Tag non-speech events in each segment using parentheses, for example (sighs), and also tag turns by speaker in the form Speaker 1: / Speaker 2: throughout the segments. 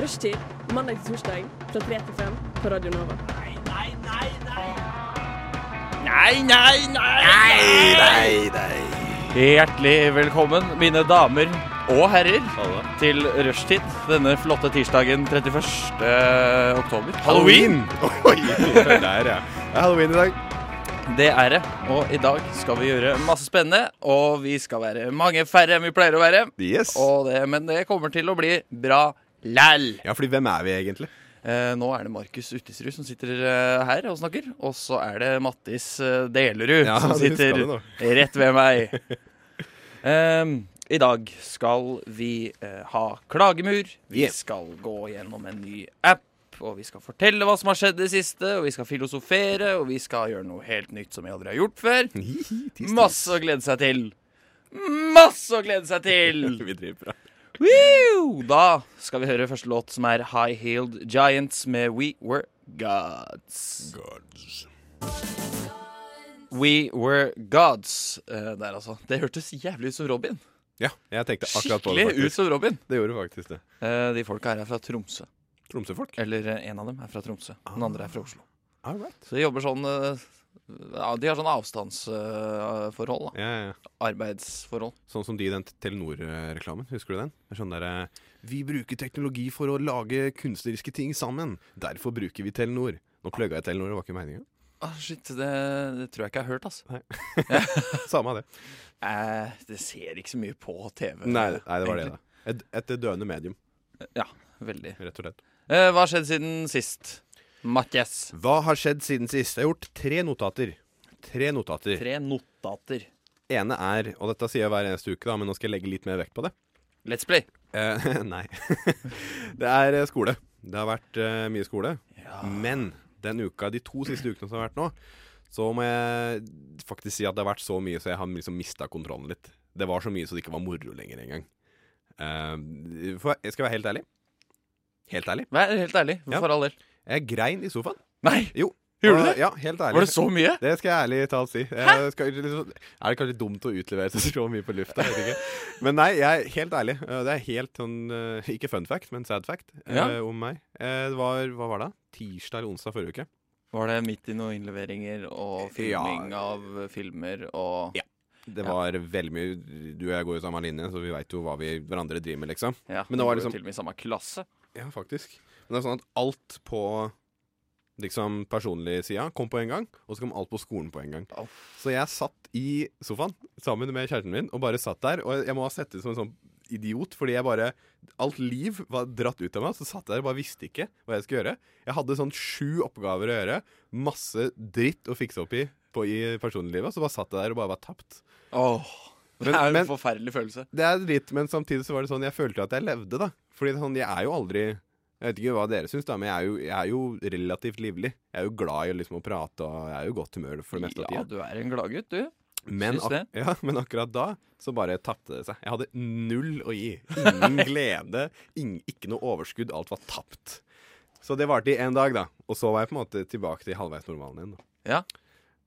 Speaker 1: Rushtid mandag til torsdag fra 3 til 5 på Radio Nova.
Speaker 2: Nei, nei, nei! Nei, nei, nei. Hjertelig velkommen, mine damer og herrer, til rushtid denne flotte tirsdagen 31. oktober.
Speaker 3: Halloween! Oi, der, ja. Det er halloween i dag.
Speaker 2: Det er det. Og i dag skal vi gjøre masse spennende, og vi skal være mange færre enn vi pleier å være.
Speaker 3: Yes.
Speaker 2: Og det, men det kommer til å bli bra læl.
Speaker 3: Ja, fordi hvem er vi egentlig?
Speaker 2: Eh, nå er det Markus Uttesrud som sitter eh, her og snakker. Og så er det Mattis eh, Delerud
Speaker 3: Ja,
Speaker 2: som
Speaker 3: det
Speaker 2: sitter
Speaker 3: skal det
Speaker 2: rett ved meg.
Speaker 3: (laughs)
Speaker 2: Em, I dag skal vi eh, ha klagemur. Vi
Speaker 3: Yeah.
Speaker 2: skal gå gjennom en ny app. Og vi skal fortelle hva som har skjedd det siste, og vi skal filosofere, og vi skal gjøre noe helt nytt som vi aldri har gjort før. Masse å glede seg til. Masse å glede seg til!
Speaker 3: (laughs) Vi driver bra.
Speaker 2: Woo! Da skal vi høre første låt, som er High Heeled Giants med We Were Gods. We Were Gods eh, der, altså. Det hørtes jævlig ut som Robin.
Speaker 3: Ja, jeg tenkte akkurat på det.
Speaker 2: Skikkelig ut
Speaker 3: faktisk.
Speaker 2: som Robin.
Speaker 3: Det gjorde faktisk det.
Speaker 2: Eh, de folka her er fra Tromsø.
Speaker 3: Tromsøfolk.
Speaker 2: Eller eh, en av dem er fra Tromsø. Den andre er fra Oslo.
Speaker 3: All right.
Speaker 2: Så de jobber sånn eh, ja, De har sånn avstandsforhold. da
Speaker 3: Ja, ja, ja.
Speaker 2: Arbeidsforhold.
Speaker 3: Sånn som de i den Telenor-reklamen. Husker du den? Det er sånn der, eh, Vi bruker teknologi for å lage kunstneriske ting sammen. Derfor bruker vi Telenor. Nå plugga jeg Telenor, det var ikke meninga.
Speaker 2: Ah, shit, det, det tror jeg ikke jeg har hørt, altså.
Speaker 3: Samme av det.
Speaker 2: Eh, det ser ikke så mye på TV.
Speaker 3: Nei, nei, det var det, da. Et, et døende medium,
Speaker 2: Ja, veldig.
Speaker 3: rett og slett.
Speaker 2: Eh, hva har skjedd siden sist? Matjes.
Speaker 3: Hva har skjedd siden sist? Jeg har gjort tre notater. Tre notater.
Speaker 2: Tre notater.
Speaker 3: ene er, og dette sier jeg hver eneste uke, da, men nå skal jeg legge litt mer vekt på det.
Speaker 2: Let's play.
Speaker 3: Eh, (laughs) nei. det er eh, skole. Det har vært eh, mye skole.
Speaker 2: Ah.
Speaker 3: Men den uka, de to siste ukene som har vært nå, så må jeg faktisk si at det har vært så mye så jeg har liksom mista kontrollen litt. Det var så mye så det ikke var moro lenger engang. Eh, for jeg skal være helt ærlig. Helt ærlig.
Speaker 2: Vær helt ærlig. For
Speaker 3: Ja.
Speaker 2: for all del.
Speaker 3: Jeg grein i sofaen.
Speaker 2: Nei!
Speaker 3: Jo.
Speaker 2: Gjorde du det?
Speaker 3: Ja, helt ærlig.
Speaker 2: Var det så mye?
Speaker 3: Det skal jeg ærlig talt si. Jeg skal, liksom, er det kanskje dumt å utlevere seg så mye på lufta? Jeg vet ikke. Men nei, jeg er helt ærlig. Eh, Det er helt sånn eh, Ikke fun fact, men sad fact eh,
Speaker 2: Ja.
Speaker 3: om meg. Eh, Det var, hva var det? Tirsdag eller onsdag forrige uke.
Speaker 2: Var det midt i noen innleveringer og filming
Speaker 3: Ja.
Speaker 2: av filmer og
Speaker 3: Ja. Det var veldig mye Du og jeg går jo samme linje, så vi veit jo hva vi hverandre driver med, liksom.
Speaker 2: Ja,
Speaker 3: Men det var
Speaker 2: vi jo
Speaker 3: liksom-
Speaker 2: Til og med i samme klasse.
Speaker 3: Ja, faktisk. Men det er sånn at alt på liksom personlig sida kom på en gang, og så kom alt på skolen på en gang. Så jeg satt i sofaen sammen med kjæresten min og bare satt der. Og jeg må ha sett ut som en sånn idiot, fordi jeg bare Alt liv var dratt ut av meg. Så satt jeg der og bare visste ikke hva jeg skulle gjøre. Jeg hadde sånn sju oppgaver å gjøre. Masse dritt å fikse opp i på, i personliglivet. Så bare satt jeg der og bare var tapt.
Speaker 2: Åh, det
Speaker 3: Men-
Speaker 2: er jo
Speaker 3: men-
Speaker 2: en forferdelig følelse.
Speaker 3: Det er dritt, men samtidig så var det sånn jeg følte at jeg levde, da. Fordi sånn, jeg er jo aldri Jeg vet ikke hva dere syns, da, men jeg er, jo, jeg er jo relativt livlig. Jeg er jo glad i liksom, å prate, og jeg er jo i godt humør for det meste av
Speaker 2: Ja,
Speaker 3: tida.
Speaker 2: du er en gladgutt, du.
Speaker 3: Men,
Speaker 2: Syns det.
Speaker 3: ak (laughs) ja, men akkurat da så bare tapte det seg. Jeg hadde null å gi.
Speaker 2: (laughs)
Speaker 3: Ingen glede, ing ikke noe overskudd. Alt var tapt. Så det varte i én dag, da. Og så var jeg på en måte tilbake til halvveis normalen igjen. Da.
Speaker 2: Ja.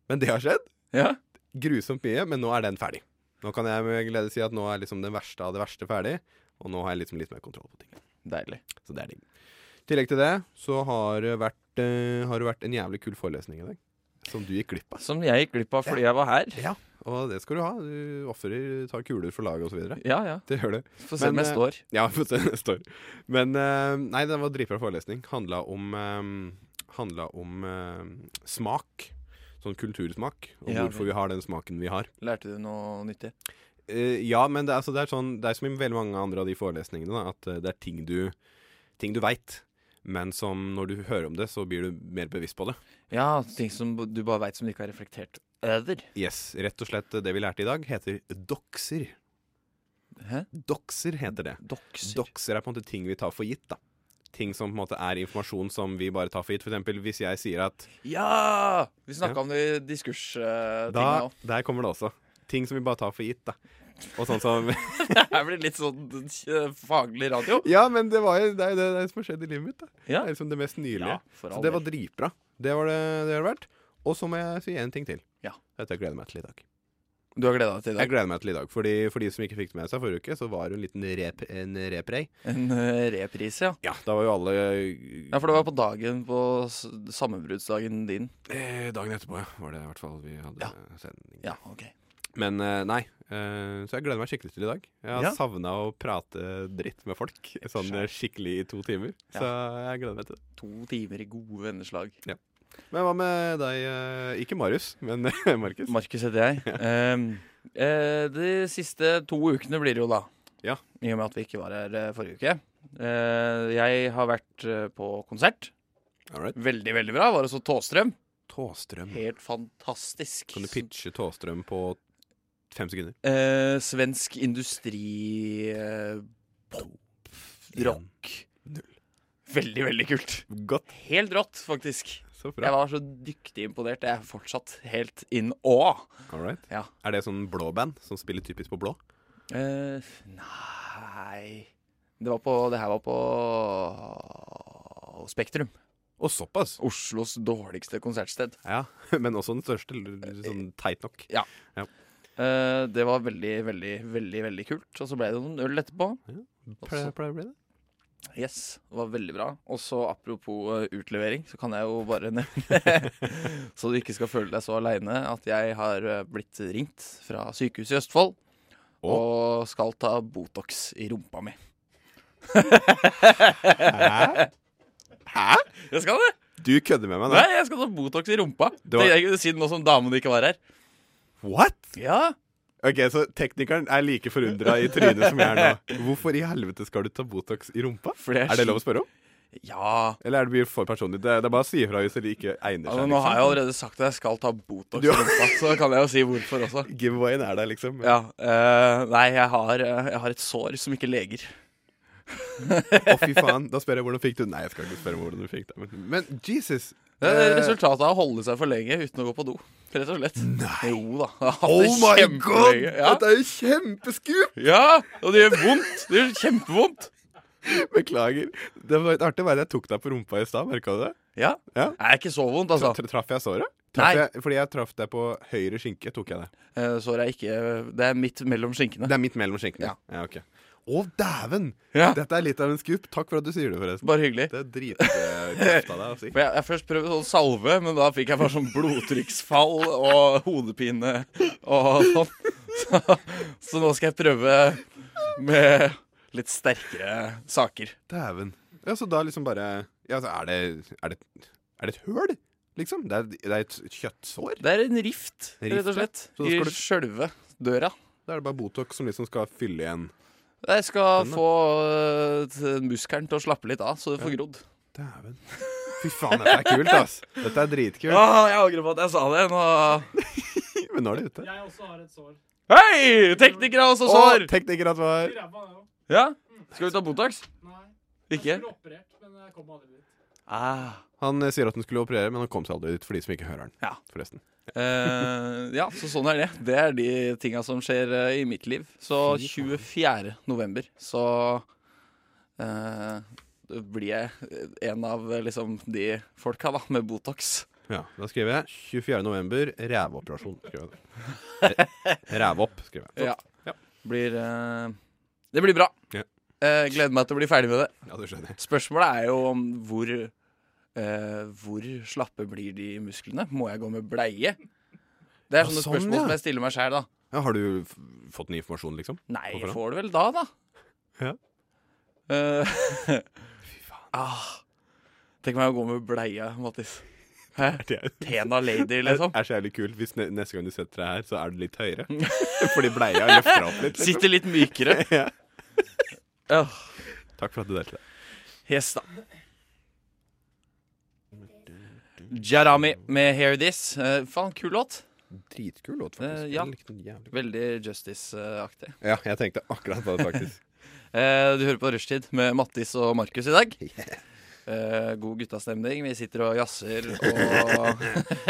Speaker 3: Men det har skjedd.
Speaker 2: Ja.
Speaker 3: Grusomt mye, men nå er den ferdig. Nå kan jeg med glede si at nå er liksom den verste av det verste ferdig. Og nå har jeg liksom litt mer kontroll på tingene.
Speaker 2: Deilig.
Speaker 3: Så det er digg. I tillegg til det så har det vært, eh, har det vært en jævlig kul forelesning i dag. Som du gikk glipp av.
Speaker 2: Som jeg gikk glipp av fordi jeg var her.
Speaker 3: Ja, og det skal du ha. Du ofrer, tar kuler for laget osv.
Speaker 2: Ja, ja.
Speaker 3: (laughs) Det gjør du.
Speaker 2: Få se
Speaker 3: Men,
Speaker 2: neste
Speaker 3: eh,
Speaker 2: år.
Speaker 3: Ja, vi får se neste år. Men eh, nei, det var dritbra forelesning. Handla om, eh, handla om eh, smak. Sånn kultursmak. Og
Speaker 2: Ja,
Speaker 3: hvorfor vi har den smaken vi har.
Speaker 2: Lærte du noe nyttig?
Speaker 3: Eh, ja, men det, er- altså, det er sånn Det er som i veldig mange andre av de forelesningene, da, at eh, det er ting du, ting du veit. Men som når du hører om det, så blir du mer bevisst på det.
Speaker 2: Ja, ting som du bare veit som du ikke har reflektert over.
Speaker 3: Yes, Rett og slett eh, det vi lærte i dag, heter dokser.
Speaker 2: Hæ?
Speaker 3: Dokser heter det.
Speaker 2: Dokser.
Speaker 3: Dokser er på en måte ting vi tar for gitt, da. Ting som på en måte er informasjon som vi bare tar for gitt. For eksempel hvis jeg sier at
Speaker 2: Ja! Vi snakka om det i diskurstinga
Speaker 3: da,
Speaker 2: òg.
Speaker 3: Der kommer det også. Ting som vi bare tar for gitt, da. Og sånn
Speaker 2: (laughs) (laughs)
Speaker 3: som
Speaker 2: Det her blir litt sånn eh, faglig radio.
Speaker 3: Ja, men det, var jo, det er jo det, det er det som har skjedd i livet mitt, da.
Speaker 2: Ja.
Speaker 3: Det er liksom det mest nylige.
Speaker 2: Ja, for all
Speaker 3: så det var
Speaker 2: del.
Speaker 3: dritbra. Det var det det har vært. Og så må jeg si en ting til.
Speaker 2: Ja.
Speaker 3: Dette gleder jeg meg til i dag.
Speaker 2: Du har gleda deg til i
Speaker 3: Jeg
Speaker 2: dag.
Speaker 3: gleder meg til i dag. Fordi, for de som ikke fikk det med seg forrige uke, så var det en liten rep, en reprei.
Speaker 2: En eh, reprise, ja.
Speaker 3: Ja, da var jo alle
Speaker 2: Ja, For det var på dagen på s- sammenbruddsdagen din.
Speaker 3: eh, Dagen etterpå, ja. Var det i hvert fall vi hadde
Speaker 2: Ja.
Speaker 3: sending.
Speaker 2: Ja, ok
Speaker 3: Men eh, nei. eh, så jeg gleder meg skikkelig til i dag. Jeg har
Speaker 2: Ja.
Speaker 3: savnet savna å prate dritt med folk sånn eh, skikkelig i to timer.
Speaker 2: Ja.
Speaker 3: Så jeg gleder meg til det.
Speaker 2: To timer i gode venneslag.
Speaker 3: Men hva med deg? eh, ikke Marius, men eh, Markus.
Speaker 2: Markus heter
Speaker 3: (laughs)
Speaker 2: jeg. Ehm, eh, de siste to ukene blir det jo, da.
Speaker 3: Ja.
Speaker 2: I og med at vi ikke var her eh, forrige uke. Eh, jeg har vært eh, på konsert.
Speaker 3: All right.
Speaker 2: Veldig, veldig bra. Var også Tåstrøm.
Speaker 3: Tåstrøm.
Speaker 2: Helt fantastisk.
Speaker 3: Kan du pitche Tåstrøm på fem sekunder?
Speaker 2: Eh, svensk industri eh, pop, rock. Veldig, veldig kult.
Speaker 3: Godt.
Speaker 2: Helt rått, faktisk.
Speaker 3: Så
Speaker 2: Jeg
Speaker 3: bra.
Speaker 2: var så dyktig imponert. Jeg er fortsatt helt in awe.
Speaker 3: All right.
Speaker 2: Ja.
Speaker 3: Er det sånn blå band som spiller typisk på blå?
Speaker 2: Eh, nei det, var på, det her var på Spektrum.
Speaker 3: Og såpass!
Speaker 2: Oslos dårligste konsertsted.
Speaker 3: Ja, (laughs) Men også den største. eller Sånn teit nok.
Speaker 2: Eh, det var veldig, veldig, veldig veldig kult. Og så ble det noen øl etterpå.
Speaker 3: Pleier pleier å bli det.
Speaker 2: Yes, det var veldig bra. Og så apropos eh, utlevering, så kan jeg jo bare (laughs) nevne Så du ikke skal føle deg så aleine, at jeg har eh, blitt ringt fra sykehuset i Østfold.
Speaker 3: Å.
Speaker 2: Og skal ta Botox i rumpa mi.
Speaker 3: Hæ? Hæ?
Speaker 2: Jeg skal det!
Speaker 3: Du kødder med meg nå?
Speaker 2: Nei, jeg skal ta Botox i rumpa.
Speaker 3: Det var-
Speaker 2: Det jeg kunne si nå som damene ikke var her.
Speaker 3: What?
Speaker 2: Ja,
Speaker 3: Ok, Så teknikeren er like forundra i trynet som jeg er
Speaker 2: (laughs)
Speaker 3: nå. Hvorfor i helvete skal du ta Botox i rumpa?
Speaker 2: Fordi jeg
Speaker 3: Er det lov å spørre om?
Speaker 2: Ja.
Speaker 3: Eller er det mye for personlig? Det, det er bare å si ifra hvis det ikke egner seg. liksom.
Speaker 2: Altså, nå har jeg allerede sagt at jeg skal ta Botox i rumpa, så kan jeg jo si hvorfor også.
Speaker 3: Giveawayen er der, liksom.
Speaker 2: Ja, eh, Nei, jeg har, eh, jeg har et sår som ikke leger.
Speaker 3: Å, fy faen. Da spør jeg hvordan fikk du Nei, jeg skal ikke spørre hvordan du fikk det. Men, men Jesus.
Speaker 2: Det er
Speaker 3: Eh,
Speaker 2: resultatet av å holde seg for lenge uten å gå på do. Rett og slett. Nei. Jo da. Jeg har hatt
Speaker 3: Oh
Speaker 2: det
Speaker 3: my god!
Speaker 2: kjempelenge. Ja.
Speaker 3: Dette er jo
Speaker 2: (laughs)
Speaker 3: kjempeskup!
Speaker 2: ja, og det gjør vondt. Det gjør kjempevondt.
Speaker 3: Beklager. Det var litt artig å være jeg tok deg på rumpa i stad. Merka du det?
Speaker 2: Ja.
Speaker 3: Ja.
Speaker 2: Det er ikke så vondt, altså.
Speaker 3: Tra- Traff jeg såret?
Speaker 2: Nei.
Speaker 3: Traff jeg, fordi jeg traff deg på høyre skinke. tok jeg Det
Speaker 2: Eh, Såret er ikke Det er midt mellom skinkene.
Speaker 3: Det er midt mellom skinkene.
Speaker 2: Ja.
Speaker 3: Ja, ok Å, dæven!
Speaker 2: Ja.
Speaker 3: Dette er litt av en skup. Takk for at du sier det, forresten.
Speaker 2: Bare hyggelig.
Speaker 3: Det er drittøft av deg å si.
Speaker 2: For jeg, jeg først prøvde sånn salve, men da fikk jeg bare sånn blodtrykksfall og hodepine og sånn. Så, så nå skal jeg prøve med litt sterkere saker.
Speaker 3: Dæven. Ja, så da liksom bare Ja, så er det Er det, er det et høl, liksom? Det er, det er et kjøttsår?
Speaker 2: Det er en rift, rett og slett,
Speaker 3: Rift, ja. Så da
Speaker 2: i
Speaker 3: skal du-
Speaker 2: sjølve døra.
Speaker 3: Da er det bare Botox som liksom skal fylle igjen.
Speaker 2: Jeg skal
Speaker 3: Spennende.
Speaker 2: få øh, t- muskelen til å slappe litt av, så det får grodd.
Speaker 3: Dæven. Fy faen, dette er kult, ass. Dette er dritkult.
Speaker 2: Ah, jeg angrer på at jeg sa det. Nå
Speaker 3: Men nå er det ute.
Speaker 4: Jeg også har et sår.
Speaker 2: Hei! Teknikere har også sår!
Speaker 3: Å, teknikere at det var
Speaker 4: I ræva, det òg.
Speaker 2: Ja? Skal vi ta Botox?
Speaker 4: Nei.
Speaker 2: Ikke?
Speaker 4: Jeg skulle operert, men jeg kom aldri dit.
Speaker 2: Ah.
Speaker 3: Han eh, sier at han skulle operere, men han kom seg aldri ut for de som ikke hører han.
Speaker 2: Ja.
Speaker 3: Forresten.
Speaker 2: Eh, ja, så sånn er det. Det er de tinga som skjer eh, i mitt liv. Så 24. november så eh, blir jeg en av eh, liksom de folka da, med Botox.
Speaker 3: Ja, Da skriver jeg 24. november, rævoperasjon. Skriver (laughs) jeg. Rævopp, skriver jeg.
Speaker 2: Ja.
Speaker 3: Ja.
Speaker 2: Blir eh, Det blir bra.
Speaker 3: Ja.
Speaker 2: Eh, gleder meg til å bli ferdig med det.
Speaker 3: Ja, du skjønner.
Speaker 2: Spørsmålet er jo om hvor eh, Hvor slappe blir de musklene? Må jeg gå med bleie? Det er
Speaker 3: Ja,
Speaker 2: sånne
Speaker 3: sånn,
Speaker 2: spørsmål
Speaker 3: ja.
Speaker 2: som jeg stiller meg sjæl, da.
Speaker 3: Ja, har du f fått ny informasjon, liksom?
Speaker 2: Nei,
Speaker 3: Hvorfor da?
Speaker 2: får du vel da, da.
Speaker 3: Ja.
Speaker 2: Eh, (laughs) ah, tenk meg å gå med bleie, Mattis. Hæ?
Speaker 3: Det er
Speaker 2: Tena lady,
Speaker 3: (laughs) Det
Speaker 2: liksom.
Speaker 3: er så jævlig kult hvis ne neste gang du setter deg her, så er du litt (laughs) høyere. Fordi bleia løfter opp litt. Liksom.
Speaker 2: Sitter litt mykere.
Speaker 3: (laughs) Ja.
Speaker 2: Ja.
Speaker 3: Takk for at du delte.
Speaker 2: Yes, da. Jarami med 'Hear This'. Eh, faen, kul låt.
Speaker 3: Dritkul låt,
Speaker 2: faktisk. Eh, ja. Jeg
Speaker 3: jævlig
Speaker 2: Veldig Justice-aktig.
Speaker 3: Ja, jeg tenkte akkurat på det, faktisk.
Speaker 2: Eh, du hører på Rushtid med Mattis og Markus i dag. Eh, god guttastemning. Vi sitter og jazzer (laughs) og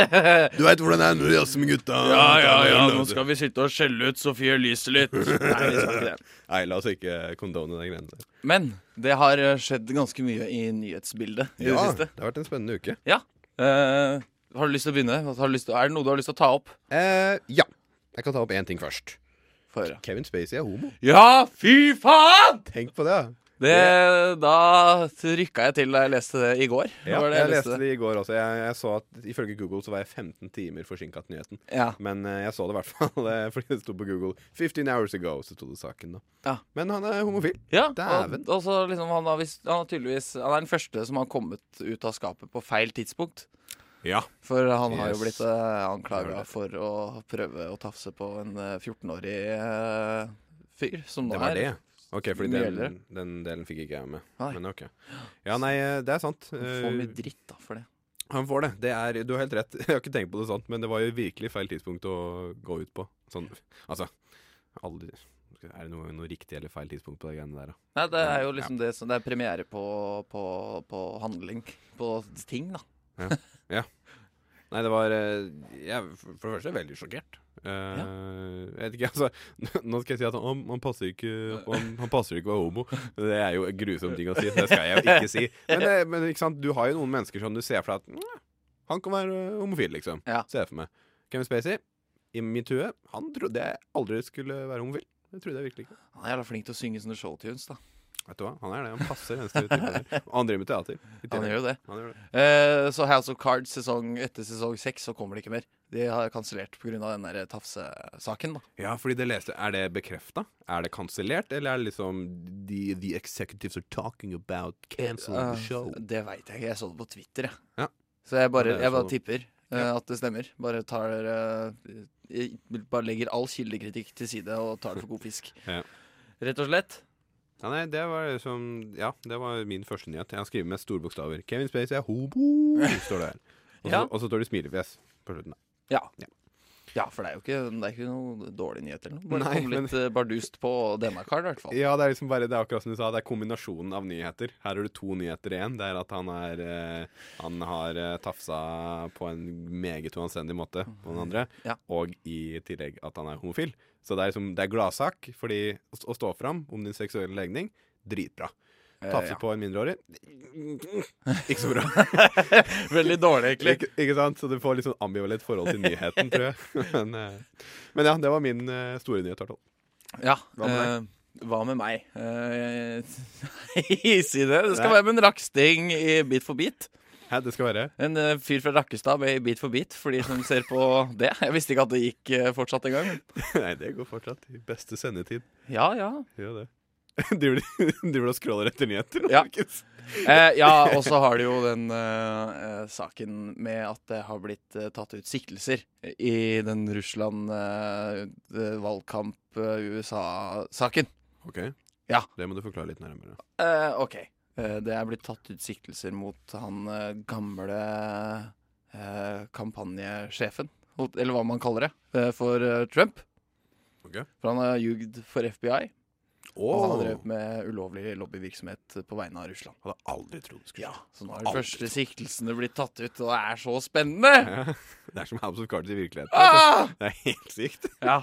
Speaker 3: (laughs) Du veit hvordan det er når du jazzer med gutta.
Speaker 2: Ja, ja, ja, nå skal vi sitte og skjelle ut Sofie Elise litt. Nei, vi skal ikke det.
Speaker 3: Nei, la oss ikke kondone den greiene der.
Speaker 2: Men det har eh, skjedd ganske mye i nyhetsbildet i det
Speaker 3: Ja,
Speaker 2: siste.
Speaker 3: det har vært en spennende uke.
Speaker 2: Ja. Eh, har du lyst til å begynne? Har du lyst til, er det noe du har lyst til å ta opp?
Speaker 3: Eh, ja. Jeg kan ta opp én ting først.
Speaker 2: Få høre.
Speaker 3: Kevin Spacey er homo.
Speaker 2: Ja, fy faen!
Speaker 3: Tenk på det.
Speaker 2: Det, da rykka jeg til da jeg leste det i går.
Speaker 3: Ja,
Speaker 2: Var det
Speaker 3: jeg leste det i går også. Jeg, jeg så at Ifølge Google så var jeg 15 timer forsinka til nyheten.
Speaker 2: Ja.
Speaker 3: Men eh, jeg så det i hvert (laughs) fall eh, fordi det sto på Google. 15 hours ago, så sto det saken. da
Speaker 2: Ja.
Speaker 3: Men han er homofil.
Speaker 2: ja. Og,
Speaker 3: Dæven.
Speaker 2: og så liksom han, har visst, han, har tydeligvis, han er den første som har kommet ut av skapet på feil tidspunkt.
Speaker 3: Ja.
Speaker 2: For han har jo
Speaker 3: Yes.
Speaker 2: blitt eh, anklaga for å prøve å tafse på en eh, 14-årig eh, fyr. Som nå
Speaker 3: Det var
Speaker 2: er
Speaker 3: det. Ok, fordi
Speaker 2: Mye
Speaker 3: den,
Speaker 2: eldre.
Speaker 3: den delen fikk ikke jeg med.
Speaker 2: Nei.
Speaker 3: Men ok. Ja, nei, eh, det er sant.
Speaker 2: Han får mye
Speaker 3: Eh,
Speaker 2: dritt da for det.
Speaker 3: Han får det. det er, du har helt rett. (laughs) Jeg har ikke tenkt på det sånn, men det var jo virkelig feil tidspunkt å gå ut på. Sånn, altså aldri, Er det noe, noe riktig eller feil tidspunkt på de greiene der, da?
Speaker 2: Nei, det er jo liksom det som Det er premiere på, på, på handling. På ting, da.
Speaker 3: Nei, det var eh, Jeg er for det første veldig sjokkert. Eh, Jeg vet ikke, (laughs) altså Nå skal jeg si at han, han passer ikke han, han passer ikke å være homo. Det er jo en grusom ting å si. Det skal jeg jo ikke si. Men, det, men ikke sant, du har jo noen mennesker som du ser for deg at "Mwah, Han kan være eh, homofil, liksom.
Speaker 2: Ja.
Speaker 3: Ser jeg for meg. Kevin Spacey, i mitt hue, han trodde jeg aldri skulle være homofil. Det trodde jeg virkelig ikke.
Speaker 2: Han er jævla flink til å synge sånne showtunes, da.
Speaker 3: Vet du hva, Han er det. Han passer den stereotypen der. Og han driver med teater. i
Speaker 2: Han
Speaker 3: tillegg.
Speaker 2: gjør jo det.
Speaker 3: Han gjør det.
Speaker 2: Eh, så House of Cards sesong, etter sesong seks så kommer det ikke mer. De har kansellert pga. den der tafsesaken. da.
Speaker 3: Ja, fordi det leste Er det bekrefta? Er det kansellert? Eller er det liksom the, the executives are talking about canceling
Speaker 2: Eh,
Speaker 3: the show?
Speaker 2: det veit jeg ikke. Jeg så det på Twitter, jeg.
Speaker 3: Ja.
Speaker 2: Så jeg
Speaker 3: Ja,
Speaker 2: bare,
Speaker 3: det er
Speaker 2: jeg bare
Speaker 3: sånn.
Speaker 2: tipper eh, at det stemmer. Bare tar eh, jeg Bare legger all kildekritikk til side og tar det for god fisk.
Speaker 3: (laughs) Ja.
Speaker 2: Rett og slett.
Speaker 3: Ja, nei, det var liksom Ja, det var min første nyhet. Jeg har skrevet med store bokstaver. Kevin Spacey er hobo, står det her. Og så,
Speaker 2: Ja.
Speaker 3: og så står det smilefjes på slutten.
Speaker 2: Ja.
Speaker 3: Ja.
Speaker 2: Ja, for det er jo ikke, det er ikke noe dårlig nyhet eller noe. Bare
Speaker 3: Nei,
Speaker 2: kom
Speaker 3: men-
Speaker 2: litt eh, bardust på denne karen, i hvert fall.
Speaker 3: Ja, det er liksom bare Det er akkurat som du sa, det er kombinasjonen av nyheter. Her har du to nyheter igjen. Det er at han er eh, Han har eh, tafsa på en meget uanstendig måte på den andre,
Speaker 2: Mm. Ja.
Speaker 3: og i tillegg at han er homofil. Så det er liksom Det er gladsak, fordi å, å stå fram om din seksuelle legning Dritbra.
Speaker 2: Eh,
Speaker 3: Tafse
Speaker 2: ja.
Speaker 3: på en
Speaker 2: (laughs)
Speaker 3: mindreårig Ikke så bra.
Speaker 2: Veldig dårlig,
Speaker 3: (laughs)
Speaker 2: egentlig.
Speaker 3: Ikke, ikke sant? Så du får litt sånn ambivalent forhold til nyheten, tror jeg.
Speaker 2: (laughs)
Speaker 3: Men, eh, men ja, det var min eh, store nyhet. Tartol.
Speaker 2: Ja.
Speaker 3: Hva med deg?
Speaker 2: eh, hva med meg? Eh, (laughs) Nei, si det. Det skal
Speaker 3: Nei.
Speaker 2: være med en raksting i Bit for bit.
Speaker 3: Hæ, det skal være (laughs)
Speaker 2: En eh, fyr fra Rakkestad med i Bit for bit, for de som ser på (laughs) det. Jeg visste ikke at det gikk eh, fortsatt engang.
Speaker 3: Nei, det går fortsatt. I beste sendetid.
Speaker 2: Ja, ja.
Speaker 3: Gjør det. (laughs) Driver du driver du og scroller etter nyheter?
Speaker 2: Ja.
Speaker 3: Markus?
Speaker 2: Eh, ja, og så har du jo den eh, eh, saken med at det har blitt eh, tatt ut siktelser i den eh, Russland-valgkamp-USA-saken.
Speaker 3: Ok,
Speaker 2: Ja.
Speaker 3: det må du forklare litt nærmere.
Speaker 2: Eh, OK. Eh, det er blitt tatt ut siktelser mot han eh, gamle eh, kampanjesjefen, hot- eller hva man kaller det, eh, for eh, Trump.
Speaker 3: Ok.
Speaker 2: For han har ljugd for FBI, og han
Speaker 3: Oh,
Speaker 2: har drevet med ulovlig lobbyvirksomhet på vegne av Russland.
Speaker 3: hadde aldri trodd det skulle
Speaker 2: Ja, Så nå har de
Speaker 3: Aldri
Speaker 2: første siktelsene blitt tatt ut, og det er så spennende!
Speaker 3: skje. (laughs) Det er som House of Cards i virkeligheten.
Speaker 2: Ah!
Speaker 3: Det er helt sykt.
Speaker 2: Ja.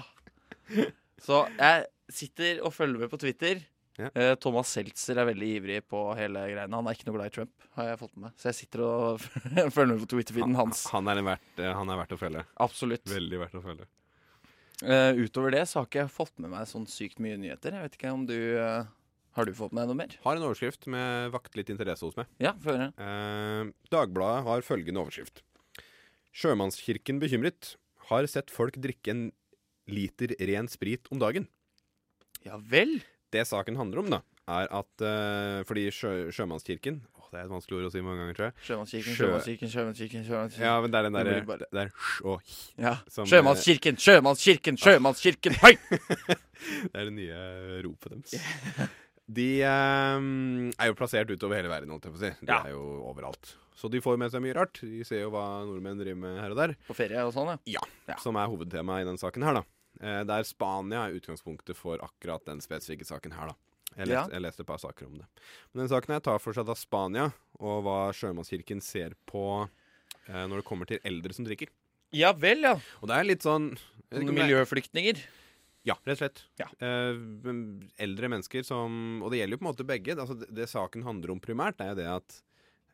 Speaker 2: Så jeg sitter og følger med på Twitter.
Speaker 3: Ja.
Speaker 2: Eh, Thomas Seltzer er veldig ivrig på hele greiene. Han er ikke noe glad i Trump, har jeg fått med meg. Så jeg sitter og (laughs) følger med på Twitter-feeden hans.
Speaker 3: Han er, en verdt, eh, han er verdt å følge.
Speaker 2: Absolutt.
Speaker 3: Veldig verdt å følge.
Speaker 2: Eh, utover det så har ikke jeg fått med meg sånn sykt mye nyheter. Jeg vet ikke om du eh, Har du fått med deg noe mer?
Speaker 3: Har en overskrift med vakt litt interesse hos meg.
Speaker 2: Ja, få høre.
Speaker 3: Eh, Dagbladet har følgende overskrift. Sjømannskirken bekymret. Har sett folk drikke en liter ren sprit om dagen.
Speaker 2: Ja vel?
Speaker 3: Det saken handler om, da, er at eh, fordi sjø, Sjømannskirken Åh, Det er et vanskelig ord å si mange ganger, tror jeg.
Speaker 2: Sjømannskirken,
Speaker 3: Sjø-
Speaker 2: sjømannskirken, sjømannskirken. sjømannskirken.
Speaker 3: Ja, men det er den
Speaker 2: Det
Speaker 3: derre
Speaker 2: blir bare-
Speaker 3: Det er sj og h.
Speaker 2: Ja.
Speaker 3: Som,
Speaker 2: Sjømannskirken, sjømannskirken, sjømannskirken! Hei!
Speaker 3: Det er det nye ropet deres. De eh, er jo plassert utover hele verden, holdt jeg på å si. De
Speaker 2: Ja.
Speaker 3: er jo overalt. Så de får med seg mye rart. De ser jo hva nordmenn driver med her og der.
Speaker 2: På ferie og sånn, ja. Ja.
Speaker 3: Som er hovedtemaet i den saken her, da. Eh, der Spania er utgangspunktet for akkurat den spesifikke saken her, da. Jeg
Speaker 2: Ja.
Speaker 3: leste, jeg leste et par saker om det. Men den saken her tar for seg da Spania, og hva sjømannskirken ser på eh, når det kommer til eldre som drikker.
Speaker 2: Ja vel, ja.
Speaker 3: Og det er litt sånn jeg vet ikke om
Speaker 2: Noen
Speaker 3: det er-
Speaker 2: miljøflyktninger.
Speaker 3: Ja, rett og slett.
Speaker 2: Ja.
Speaker 3: Eh, men eldre mennesker som Og det gjelder jo på en måte begge. Altså det, det saken handler om primært, er jo det at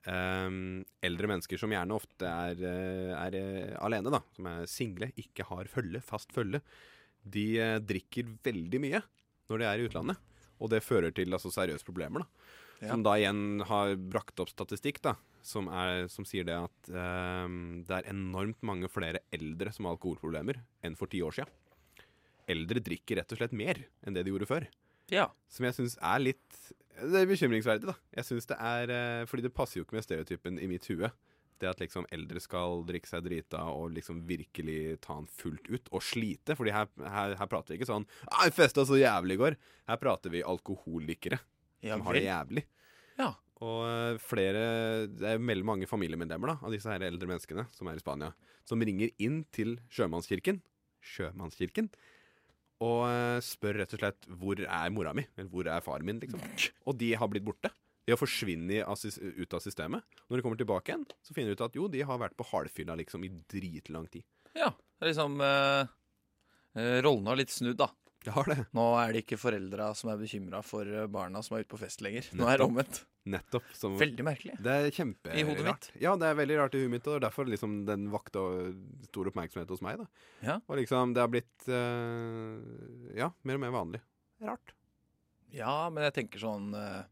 Speaker 3: ehm, eldre mennesker som gjerne ofte er, eh, er eh, alene, da, som er single, ikke har følge, fast følge, de eh, drikker veldig mye når de er i utlandet. Og det fører til altså, seriøse problemer, da.
Speaker 2: Ja.
Speaker 3: Som da igjen har brakt opp statistikk, da. Som, er, som sier det at ehm, det er enormt mange flere eldre som har alkoholproblemer enn for ti år siden. Eldre drikker rett og slett mer enn det de gjorde før
Speaker 2: Ja.
Speaker 3: som jeg syns er litt Det er bekymringsverdig, da. Jeg synes det er, eh, Fordi det passer jo ikke med stereotypen i mitt hue. Det at liksom eldre skal drikke seg drita og liksom virkelig ta den fullt ut, og slite. Fordi her, her, her prater vi ikke sånn 'Jeg festa så jævlig i går'. Her prater vi alkoholikere
Speaker 2: Ja
Speaker 3: som har det
Speaker 2: vel.
Speaker 3: jævlig.
Speaker 2: Ja.
Speaker 3: Og eh, flere, det er veldig mange familiemedlemmer da, av disse her eldre menneskene som er i Spania, som ringer inn til sjømannskirken, sjømannskirken, og eh, spør rett og slett hvor er mora mi, eller hvor er faren min,
Speaker 2: (laughs)
Speaker 3: liksom. Og de har blitt borte. De har forsvunnet av sys- ut av systemet. Når de kommer tilbake igjen, så finner de ut at jo, de har vært på halvfylla liksom i dritlang tid.
Speaker 2: ja. Det er liksom eh, eh, Rollene har litt snudd, da.
Speaker 3: De har det.
Speaker 2: Nå er det ikke foreldra som er bekymra for eh, barna som er ute på fest lenger. Nå er det
Speaker 3: Nettopp.
Speaker 2: omvendt.
Speaker 3: Nettopp. Som,
Speaker 2: Veldig merkelig.
Speaker 3: Det er kjempe
Speaker 2: I hodet
Speaker 3: rart. Ja, det er veldig rart i hodet mitt, og det er derfor liksom den vakta stor oppmerksomhet hos meg. da.
Speaker 2: Ja.
Speaker 3: Og liksom, det har blitt eh, ja, mer og mer vanlig. Rart.
Speaker 2: Ja, men jeg tenker sånn eh,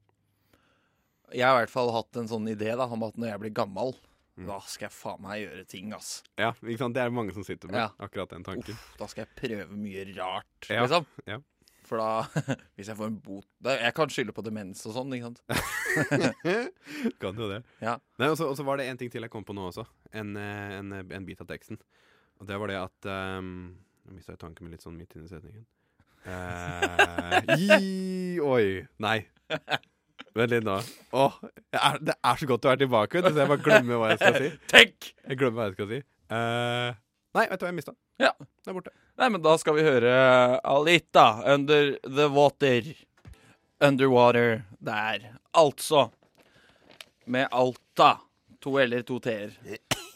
Speaker 2: Jeg har i hvert fall hatt en sånn idé da, om at når jeg blir gammel,
Speaker 3: Mm.
Speaker 2: da skal jeg faen meg gjøre ting, ass.
Speaker 3: Ja, ikke sant? Det er mange som sitter med
Speaker 2: Ja.
Speaker 3: akkurat den tanken.
Speaker 2: Uff, da skal jeg prøve mye rart,
Speaker 3: Ja,
Speaker 2: liksom.
Speaker 3: ja.
Speaker 2: For da, (laughs) hvis jeg får en bot da, Jeg kan skylde på demens og sånn, ikke sant.
Speaker 3: kan jo det.
Speaker 2: Ja.
Speaker 3: Nei, og så og så var det en ting til jeg kom på nå også. En, eh, en, en bit av teksten. Og det var det at um, Jeg mista tanken min litt sånn midt inn i setningen. Eh, (laughs) i, oi. Nei. Vent litt nå. Åh, jeg er, det er så godt å være tilbake, vet du, så jeg bare glemmer hva jeg skal si.
Speaker 2: Tenk!
Speaker 3: Jeg glemmer hva jeg skal si. Eh, nei, vet du hva jeg mista?
Speaker 2: Ja.
Speaker 3: Det er borte.
Speaker 2: Nei, men da skal vi høre Alita, 'Under the Water'. Underwater der. Altså. Med Alta. To L-er, to T-er.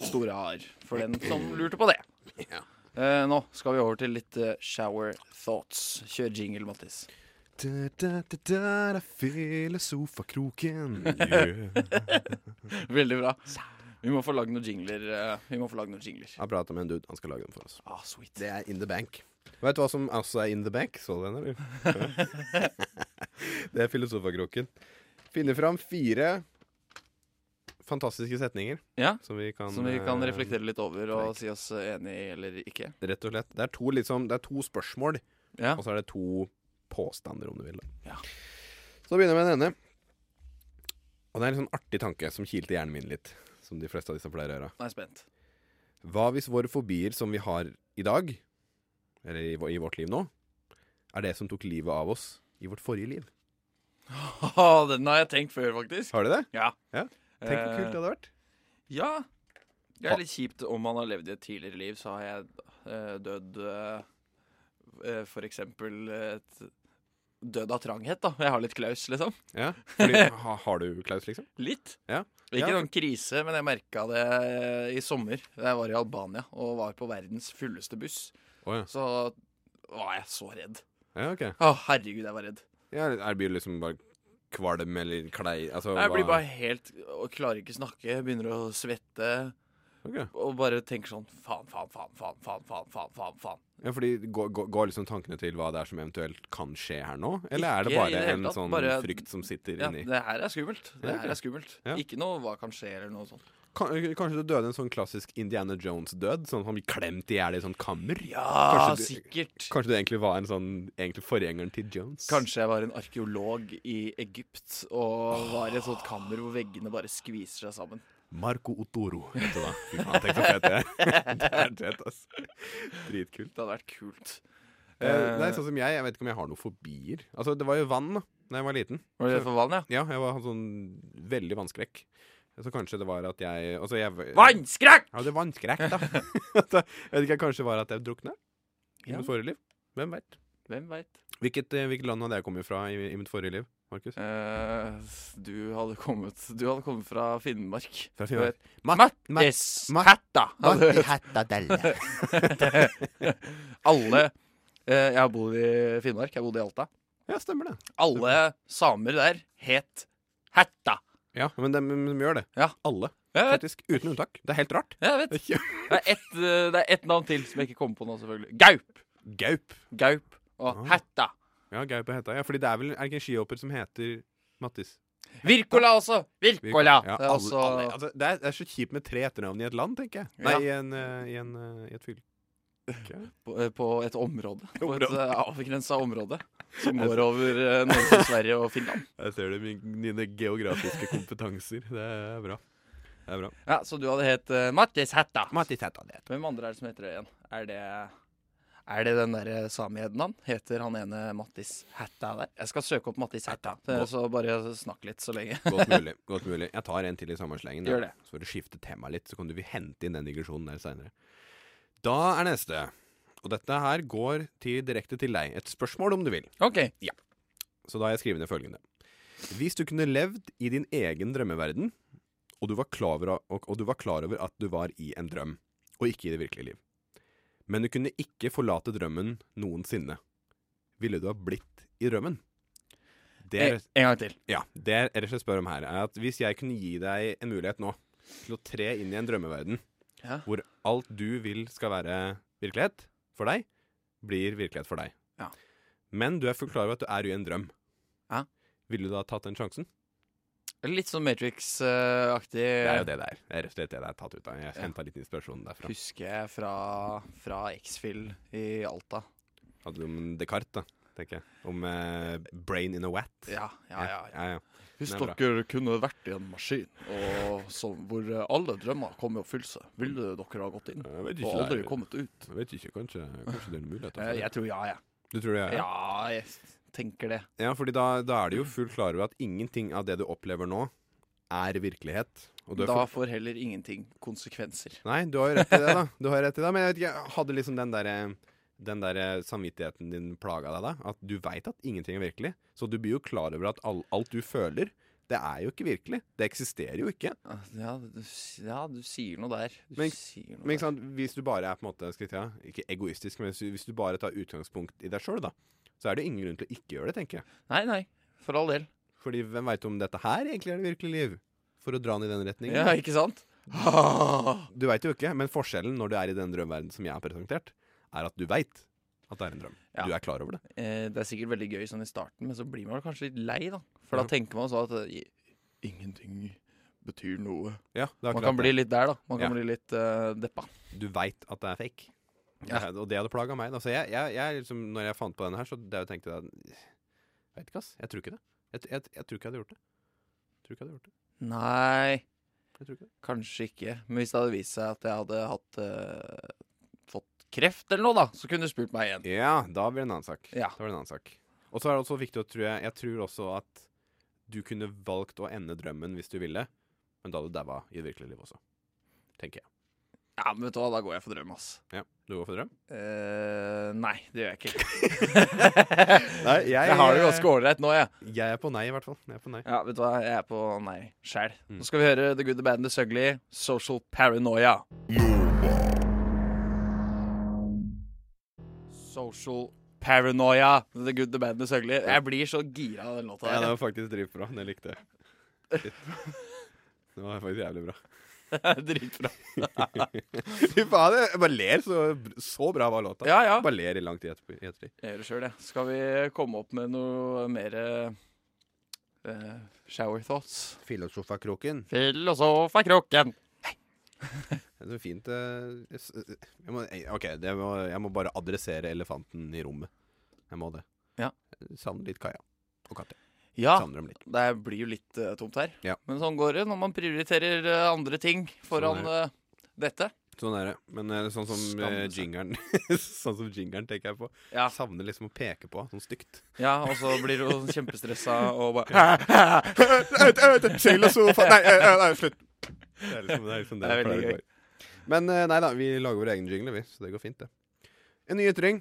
Speaker 2: Store A-er. For den som lurte på det. Eh, nå skal vi over til litt eh, shower thoughts. Kjør jingle, Mattis.
Speaker 3: Da-da-da-da, (laughs) filosofakroken. Yeah.
Speaker 2: Veldig bra. Vi må få lagd noen jingler. eh, vi må få lagd noen jingler.
Speaker 3: Jeg prata med en dude. Han skal lage den for oss.
Speaker 2: Ah, sweet.
Speaker 3: Det er In The Bank. Vet du hva som også er In The Bank? Så du den, eller?
Speaker 2: (laughs)
Speaker 3: det er filosofakroken. Finne fram fire fantastiske setninger
Speaker 2: Ja,
Speaker 3: som vi kan,
Speaker 2: Som vi kan
Speaker 3: eh,
Speaker 2: reflektere litt over og si oss eh, enig i eller ikke.
Speaker 3: Rett og slett. Det er to, liksom, det er to spørsmål,
Speaker 2: Ja.
Speaker 3: og så er det to påstander, om du vil. Da.
Speaker 2: Ja.
Speaker 3: Så begynner jeg med den ene. Og det er en sånn artig tanke som kilte hjernen min litt. Som de fleste av disse pleier å gjøre.
Speaker 2: Nå er jeg spent. (laughs)
Speaker 3: Hva hvis våre fobier som vi har i dag, eller i, vår- i vårt liv nå, er det som tok livet av oss i vårt forrige liv?
Speaker 2: Ah, den har jeg tenkt før, faktisk.
Speaker 3: Har du det?
Speaker 2: Ja. Eh,
Speaker 3: Ja. Tenk hvor kult det hadde vært.
Speaker 2: Ja. Det er litt kjipt om man har levd i et tidligere liv, så har jeg eh, dødd eh, eh, For eksempel et dødd av tranghet, da. Jeg har litt klaus, liksom.
Speaker 3: Ja, fordi, ha, har du Klaus, liksom?
Speaker 2: Litt.
Speaker 3: Ja.
Speaker 2: Ikke
Speaker 3: Ja.
Speaker 2: noen krise, men jeg merka det eh, i sommer. Da jeg var i Albania og var på verdens fulleste buss,
Speaker 3: Å ja.
Speaker 2: så var jeg så redd.
Speaker 3: ja. ok.
Speaker 2: Å, herregud, jeg var redd.
Speaker 3: Ja, er det liksom bare kvalm eller klei? Altså,
Speaker 2: Jeg blir
Speaker 3: hva-
Speaker 2: bare helt og Klarer ikke snakke, begynner å svette
Speaker 3: Ok.
Speaker 2: og bare tenker sånn faen, faen, faen, faen, faen, faen, faen, faen. faen.
Speaker 3: Ja, fordi Går går- går liksom tankene til hva det er som eventuelt kan skje her nå? Eller er det
Speaker 2: Ikke i
Speaker 3: bare
Speaker 2: det hele
Speaker 3: en
Speaker 2: tatt,
Speaker 3: sånn
Speaker 2: bare-
Speaker 3: frykt som sitter
Speaker 2: Ja,
Speaker 3: inni?
Speaker 2: det her er skummelt. Det
Speaker 3: Ja, ok.
Speaker 2: her er skummelt.
Speaker 3: Ja.
Speaker 2: Ikke noe hva kan skje eller noe sånt.
Speaker 3: Kan, kanskje du døde en sånn klassisk Indiana Jones-død? Sånn at han blir klemt i hjel i sånn kammer?
Speaker 2: Ja,
Speaker 3: Kanskje du-
Speaker 2: sikkert.
Speaker 3: Kanskje du egentlig var en sånn egentlig forgjengeren til Jones?
Speaker 2: Kanskje jeg var en arkeolog i Egypt og var i et sånt kammer hvor veggene bare skviser seg sammen.
Speaker 3: Marco Ottoro heter det. Fy faen, tenk så
Speaker 2: (laughs)
Speaker 3: fett det er. Det er fett, ass. Dritkult.
Speaker 2: Det hadde vært kult.
Speaker 3: Eh, nei, sånn som jeg, jeg vet ikke om jeg har noen fobier. Altså, det var jo vann da Når jeg var liten.
Speaker 2: Var det det for vann, ja?
Speaker 3: Ja, jeg var hadde sånn veldig vannskrekk. Så kanskje det var at jeg Altså, jeg
Speaker 2: Vannskrekk!
Speaker 3: Ja, det er vannskrekk, da. (laughs) jeg vet ikke, kanskje det var at jeg drukna i
Speaker 2: Ja.
Speaker 3: mitt forrige liv. Hvem vet.
Speaker 2: Hvem veit.
Speaker 3: Hvilket, eh, hvilket land hadde jeg kommet fra i, i mitt forrige liv, Markus?
Speaker 2: Eh, du hadde kommet Du hadde kommet fra Finnmark.
Speaker 3: Fra Finnmark.
Speaker 2: Mattis Hatta. hadde- Alle eh, Jeg har bodd i Finnmark. Jeg bodde i Alta.
Speaker 3: Ja, stemmer det.
Speaker 2: Alle samer der het Hætta.
Speaker 3: Ja, men de, de gjør det.
Speaker 2: Ja.
Speaker 3: Alle,
Speaker 2: Jeg vet,
Speaker 3: faktisk. Uten unntak. Det er helt (laughs) rart.
Speaker 2: jeg vet.
Speaker 3: Det er ikke-
Speaker 2: Det er ett eh, det er ett navn til som jeg ikke kommer på nå, selvfølgelig. Gaup.
Speaker 3: Gaup.
Speaker 2: Gaup og
Speaker 3: Ah.
Speaker 2: Hætta.
Speaker 3: Ja, Gaup er heta. Ja, fordi det er vel er det ikke en skihopper som heter Mattis?
Speaker 2: Virkola også.
Speaker 3: Vi-
Speaker 2: Virkola.
Speaker 3: Ja,
Speaker 2: det er
Speaker 3: alle-
Speaker 2: også
Speaker 3: alle- altså, det, er, det er så kjipt med tre etternavn i et land, tenker jeg. Nei,
Speaker 2: Ja.
Speaker 3: i, en, eh, i, en, eh, i et (laughs) fylke.
Speaker 2: på, eh, på et område. På et
Speaker 3: Område.
Speaker 2: eh, avgrensa område
Speaker 3: (laughs)
Speaker 2: som går over eh, Norge, Sverige og Finland.
Speaker 3: Jeg ser det med dine geografiske kompetanser. Det er bra. Det er bra.
Speaker 2: Ja, Så du hadde hett eh, Mattis Hætta.
Speaker 3: Mattis heter det.
Speaker 2: Hvem andre er det som heter det igjen? Er det er det den derre samehedden han? Heter han ene Mattis Hætta der? Jeg skal søke opp Mattis Hætta, eh, så bare snakk litt så lenge.
Speaker 3: Godt mulig. godt mulig Jeg tar en til i samme slengen. da.
Speaker 2: Gjør det.
Speaker 3: Så får du skifte tema litt, så kan du vi hente inn den digresjonen der seinere. Da er neste. Og dette her går til, direkte til deg. Et spørsmål, om du vil.
Speaker 2: OK.
Speaker 3: Så da har jeg skrevet ned følgende. Hvis du kunne levd i din egen drømmeverden, og du var klar over, og, og du var klar over at du var i en drøm, og ikke i det virkelige liv, men du kunne ikke forlate drømmen noensinne, ville du ha blitt i drømmen? Det
Speaker 2: En,
Speaker 3: er,
Speaker 2: en gang til.
Speaker 3: ja, det er rett og slett spør om her, er at hvis jeg kunne gi deg en mulighet nå til å tre inn i en drømmeverden,
Speaker 2: Ja.
Speaker 3: hvor alt du vil skal være virkelighet for deg, blir virkelighet for deg.
Speaker 2: Ja.
Speaker 3: Men du er fullt klar over at du er i en drøm.
Speaker 2: Ja.
Speaker 3: Ville du da tatt den sjansen?
Speaker 2: Litt sånn eh, Matrix-aktig.
Speaker 3: Det er jo det der. Det er rett og slett det det er tatt ut av. Jeg henta litt inspirasjon derfra.
Speaker 2: Husker jeg fra, fra X-Fill i Alta.
Speaker 3: Hadde du Altså, om Descartes, da, tenker jeg. Om eh, brain in a wet.
Speaker 2: Ja, ja, ja. ja.
Speaker 3: ja, ja.
Speaker 2: Hvis
Speaker 3: Det er bra.
Speaker 2: dere kunne vært i en maskin og som, hvor eh, alle drømmer kommer i oppfyllelse, ville dere ha gått inn
Speaker 3: Jeg
Speaker 2: og
Speaker 3: vet ikke,
Speaker 2: aldri
Speaker 3: Leif.
Speaker 2: kommet ut?
Speaker 3: Jeg vet ikke, kanskje, kanskje det er en mulighet.
Speaker 2: Eh,
Speaker 3: for det.
Speaker 2: Jeg tror ja, jeg.
Speaker 3: Du tror det er
Speaker 2: Ja, jeg tenker det.
Speaker 3: Ja, fordi da, da er du jo
Speaker 2: Mm.
Speaker 3: fullt klar over at ingenting av det du opplever nå, er virkelighet. Og du er
Speaker 2: Da
Speaker 3: fullt-
Speaker 2: får heller ingenting konsekvenser.
Speaker 3: Nei, du har jo rett i det, da. Du har rett i det, Men jeg vet ikke, jeg hadde liksom den derre den der eh, samvittigheten din plaga deg, da? At du veit at ingenting er virkelig. Så du blir jo klar over at all, alt du føler, det er jo ikke virkelig. Det eksisterer jo ikke.
Speaker 2: Ah, Ja, du, s- ja, du sier noe der. Du
Speaker 3: Men-
Speaker 2: sier noe
Speaker 3: Men ikke sant, hvis du bare er på en måte skal jeg si, ja, Ikke egoistisk, men hvis du- hvis du bare tar utgangspunkt i deg sjøl, da, så er det jo ingen grunn til å ikke gjøre det, tenker jeg.
Speaker 2: der. Nei, nei. For all del.
Speaker 3: Fordi hvem veit om dette her egentlig er det virkelige liv? For å dra den i den retningen.
Speaker 2: Ja, ikke sant?
Speaker 3: (laughs) Du veit jo ikke, men forskjellen når du er i den drømverdenen som jeg har presentert, er at du veit at det er en drøm.
Speaker 2: Ja.
Speaker 3: Du er klar over det.
Speaker 2: Eh, det er sikkert veldig gøy sånn i starten, men så blir man kanskje litt lei, da. For
Speaker 3: Ja.
Speaker 2: da tenker man sånn at eh, i- ingenting betyr noe.
Speaker 3: Ja, det er
Speaker 2: Man
Speaker 3: akkurat
Speaker 2: kan bli litt der, da. Man kan
Speaker 3: Ja.
Speaker 2: bli litt eh, deppa.
Speaker 3: det. Du veit at det er fake.
Speaker 2: Ja.
Speaker 3: Det- Og det hadde plaga meg. da. Så jeg, jeg, jeg liksom, når jeg fant på denne her, så det jeg tenkte jeg Veit ikke, ass. Jeg tror ikke det. Jeg, jeg, jeg tror ikke jeg hadde gjort det. Jeg tror ikke jeg hadde gjort det.
Speaker 2: Nei,
Speaker 3: Jeg tror ikke det.
Speaker 2: kanskje ikke. Men hvis det hadde vist seg at jeg hadde hatt eh, fått kreft eller noe, da, så kunne du spurt meg igjen.
Speaker 3: Ja, da blir det en annen sak.
Speaker 2: Ja.
Speaker 3: Da blir det en annen sak. Og så er det også viktig å tro jeg, jeg tror også at du kunne valgt å ende drømmen hvis du ville, men da hadde du daua i det virkelige livet også. Tenker jeg.
Speaker 2: Ja, men vet du hva, da går jeg for drøm, ass.
Speaker 3: Ja, Du går for drøm?
Speaker 2: Eh, nei, det gjør jeg ikke.
Speaker 3: (laughs)
Speaker 2: (laughs)
Speaker 3: Nei, eh, jeg-
Speaker 2: jeg har det ganske ålreit nå, jeg.
Speaker 3: Jeg er på nei, i hvert fall. Jeg er på nei.
Speaker 2: Ja, vet du hva, jeg er på nei sjæl.
Speaker 3: Mm.
Speaker 2: Nå skal vi høre The Good, The Bad and The Sugly, Social Paranoia. Social Paranoia, The Good, The Bad and The Sugly. Jeg blir så gira av den låta (laughs)
Speaker 3: Ja, det
Speaker 2: der.
Speaker 3: var faktisk dritbra. Det likte jeg. Det var faktisk jævlig bra.
Speaker 2: Dritbra.
Speaker 3: Fy faen, jeg bare ler. Så, så bra var låta.
Speaker 2: Ja, ja.
Speaker 3: Bare ler i lang tid etterpå. i ettertid.
Speaker 2: Jeg gjør det sjøl, jeg. Skal vi komme opp med noe mer eh, shower thoughts?
Speaker 3: Filosofakroken.
Speaker 2: Filosofakroken.
Speaker 3: Det er så fint eh, s- jeg må, jeg- OK, det må, jeg må bare adressere elefanten i rommet. Jeg må det.
Speaker 2: Ja. Ah.
Speaker 3: Jeg Savner litt Kaja og Katja.
Speaker 2: Ja,
Speaker 3: Savner dem litt.
Speaker 2: det blir jo litt eh, tomt her.
Speaker 3: Sånn. Ja.
Speaker 2: Men sånn går det når man prioriterer eh, andre ting foran
Speaker 3: Sånn
Speaker 2: eh, dette.
Speaker 3: Sånn er det. Men eh, sånn som eh,
Speaker 2: Skamme seg. Ah.
Speaker 3: jingeren (laughs) Sånn som jingeren tenker jeg på.
Speaker 2: Ja.
Speaker 3: Savner liksom å peke på, sånn stygt.
Speaker 2: Ja, og så blir hun kjempestressa og (laughs) bare
Speaker 3: Filosofa Nei, eh, nei, slutt. Det er liksom det, er liksom det,
Speaker 2: Det er veldig
Speaker 3: jeg pleier å gjøre. Men eh, nei da, vi lager våre egne jingler, vi. Så det går fint, det. En ny ytring.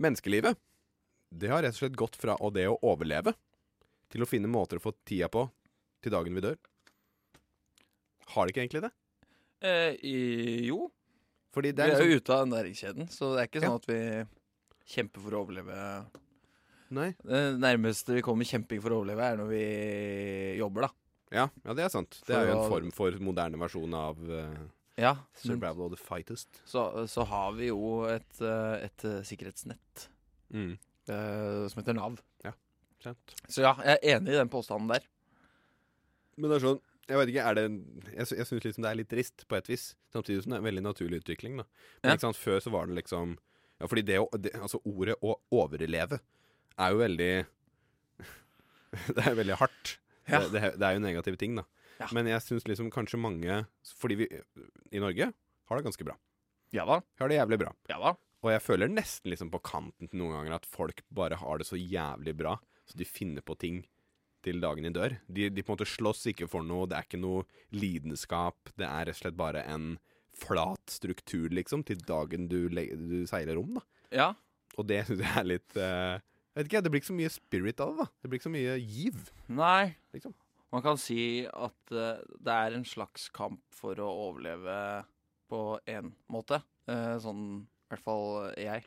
Speaker 3: Menneskelivet det har rett og slett gått fra å det å overleve til å finne måter å få tida på til dagen vi dør. Har det ikke egentlig det?
Speaker 2: eh, i- Jo,
Speaker 3: Fordi det
Speaker 2: vi
Speaker 3: er
Speaker 2: er
Speaker 3: liksom
Speaker 2: sånn jo ute av næringskjeden, så det er ikke
Speaker 3: Ja.
Speaker 2: sånn at vi kjemper for å overleve
Speaker 3: Nei.
Speaker 2: Det nærmeste vi kommer kjemping for å overleve, er når vi jobber, da.
Speaker 3: Ja, ja, det er sant. Det
Speaker 2: For
Speaker 3: er jo
Speaker 2: å-
Speaker 3: en form for moderne versjon av eh,
Speaker 2: Ja, men
Speaker 3: Survival of the Fightest.
Speaker 2: så, så har vi jo et, eh, et eh, sikkerhetsnett
Speaker 3: Mm.
Speaker 2: eh, som heter Nav.
Speaker 3: Sant.
Speaker 2: Så ja, jeg er enig i den påstanden der.
Speaker 3: Men det er sånn jeg vet ikke, er det, jeg, sy- jeg syns liksom det er litt trist, på et vis. Samtidig som det er en veldig naturlig utvikling. da. Men
Speaker 2: Ja.
Speaker 3: ikke sant, Før så var det liksom ja, Fordi det, å- det altså ordet 'å overleve' er jo veldig (laughs) Det er veldig hardt.
Speaker 2: Ja.
Speaker 3: Det, det, er- det er jo negative ting, da.
Speaker 2: Ja.
Speaker 3: Men jeg syns liksom kanskje mange Fordi vi i Norge har det ganske bra.
Speaker 2: Ja da.
Speaker 3: Vi har det jævlig bra.
Speaker 2: Ja da.
Speaker 3: Og jeg føler nesten liksom på kanten til noen ganger at folk bare har det så jævlig bra, så de finner på ting til dagen de dør. De, de på en måte slåss ikke for noe, det er ikke noe lidenskap, det er rett og slett bare en flat struktur, liksom, til dagen du, le- du seiler om, da.
Speaker 2: Ja.
Speaker 3: Og det syns jeg er litt eh, jeg vet ikke, Det blir ikke så mye spirit av det, da. Det blir ikke så mye giv.
Speaker 2: Nei.
Speaker 3: Liksom.
Speaker 2: Man kan si at eh, det er en slags kamp for å overleve på én måte. Eh, sånn i hvert fall jeg.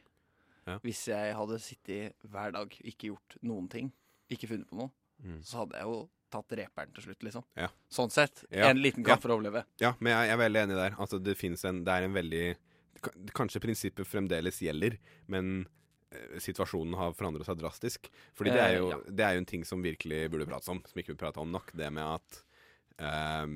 Speaker 3: Ja.
Speaker 2: Hvis jeg hadde sittet hver dag, ikke gjort noen ting, ikke funnet på noe,
Speaker 3: Mm.
Speaker 2: så hadde jeg jo tatt reperen til slutt, liksom.
Speaker 3: Ja.
Speaker 2: Sånn sett.
Speaker 3: Ja.
Speaker 2: En liten
Speaker 3: Ja.
Speaker 2: kamp for å overleve.
Speaker 3: Ja, men jeg, jeg er veldig enig der. Altså, det finnes en Det er en veldig k- Kanskje prinsippet fremdeles gjelder, men eh, situasjonen har forandret seg drastisk. Fordi det er,
Speaker 2: Eh,
Speaker 3: jo,
Speaker 2: ja.
Speaker 3: det er jo en ting som virkelig burde prates om, som ikke vi prata om nok. Det med at eh,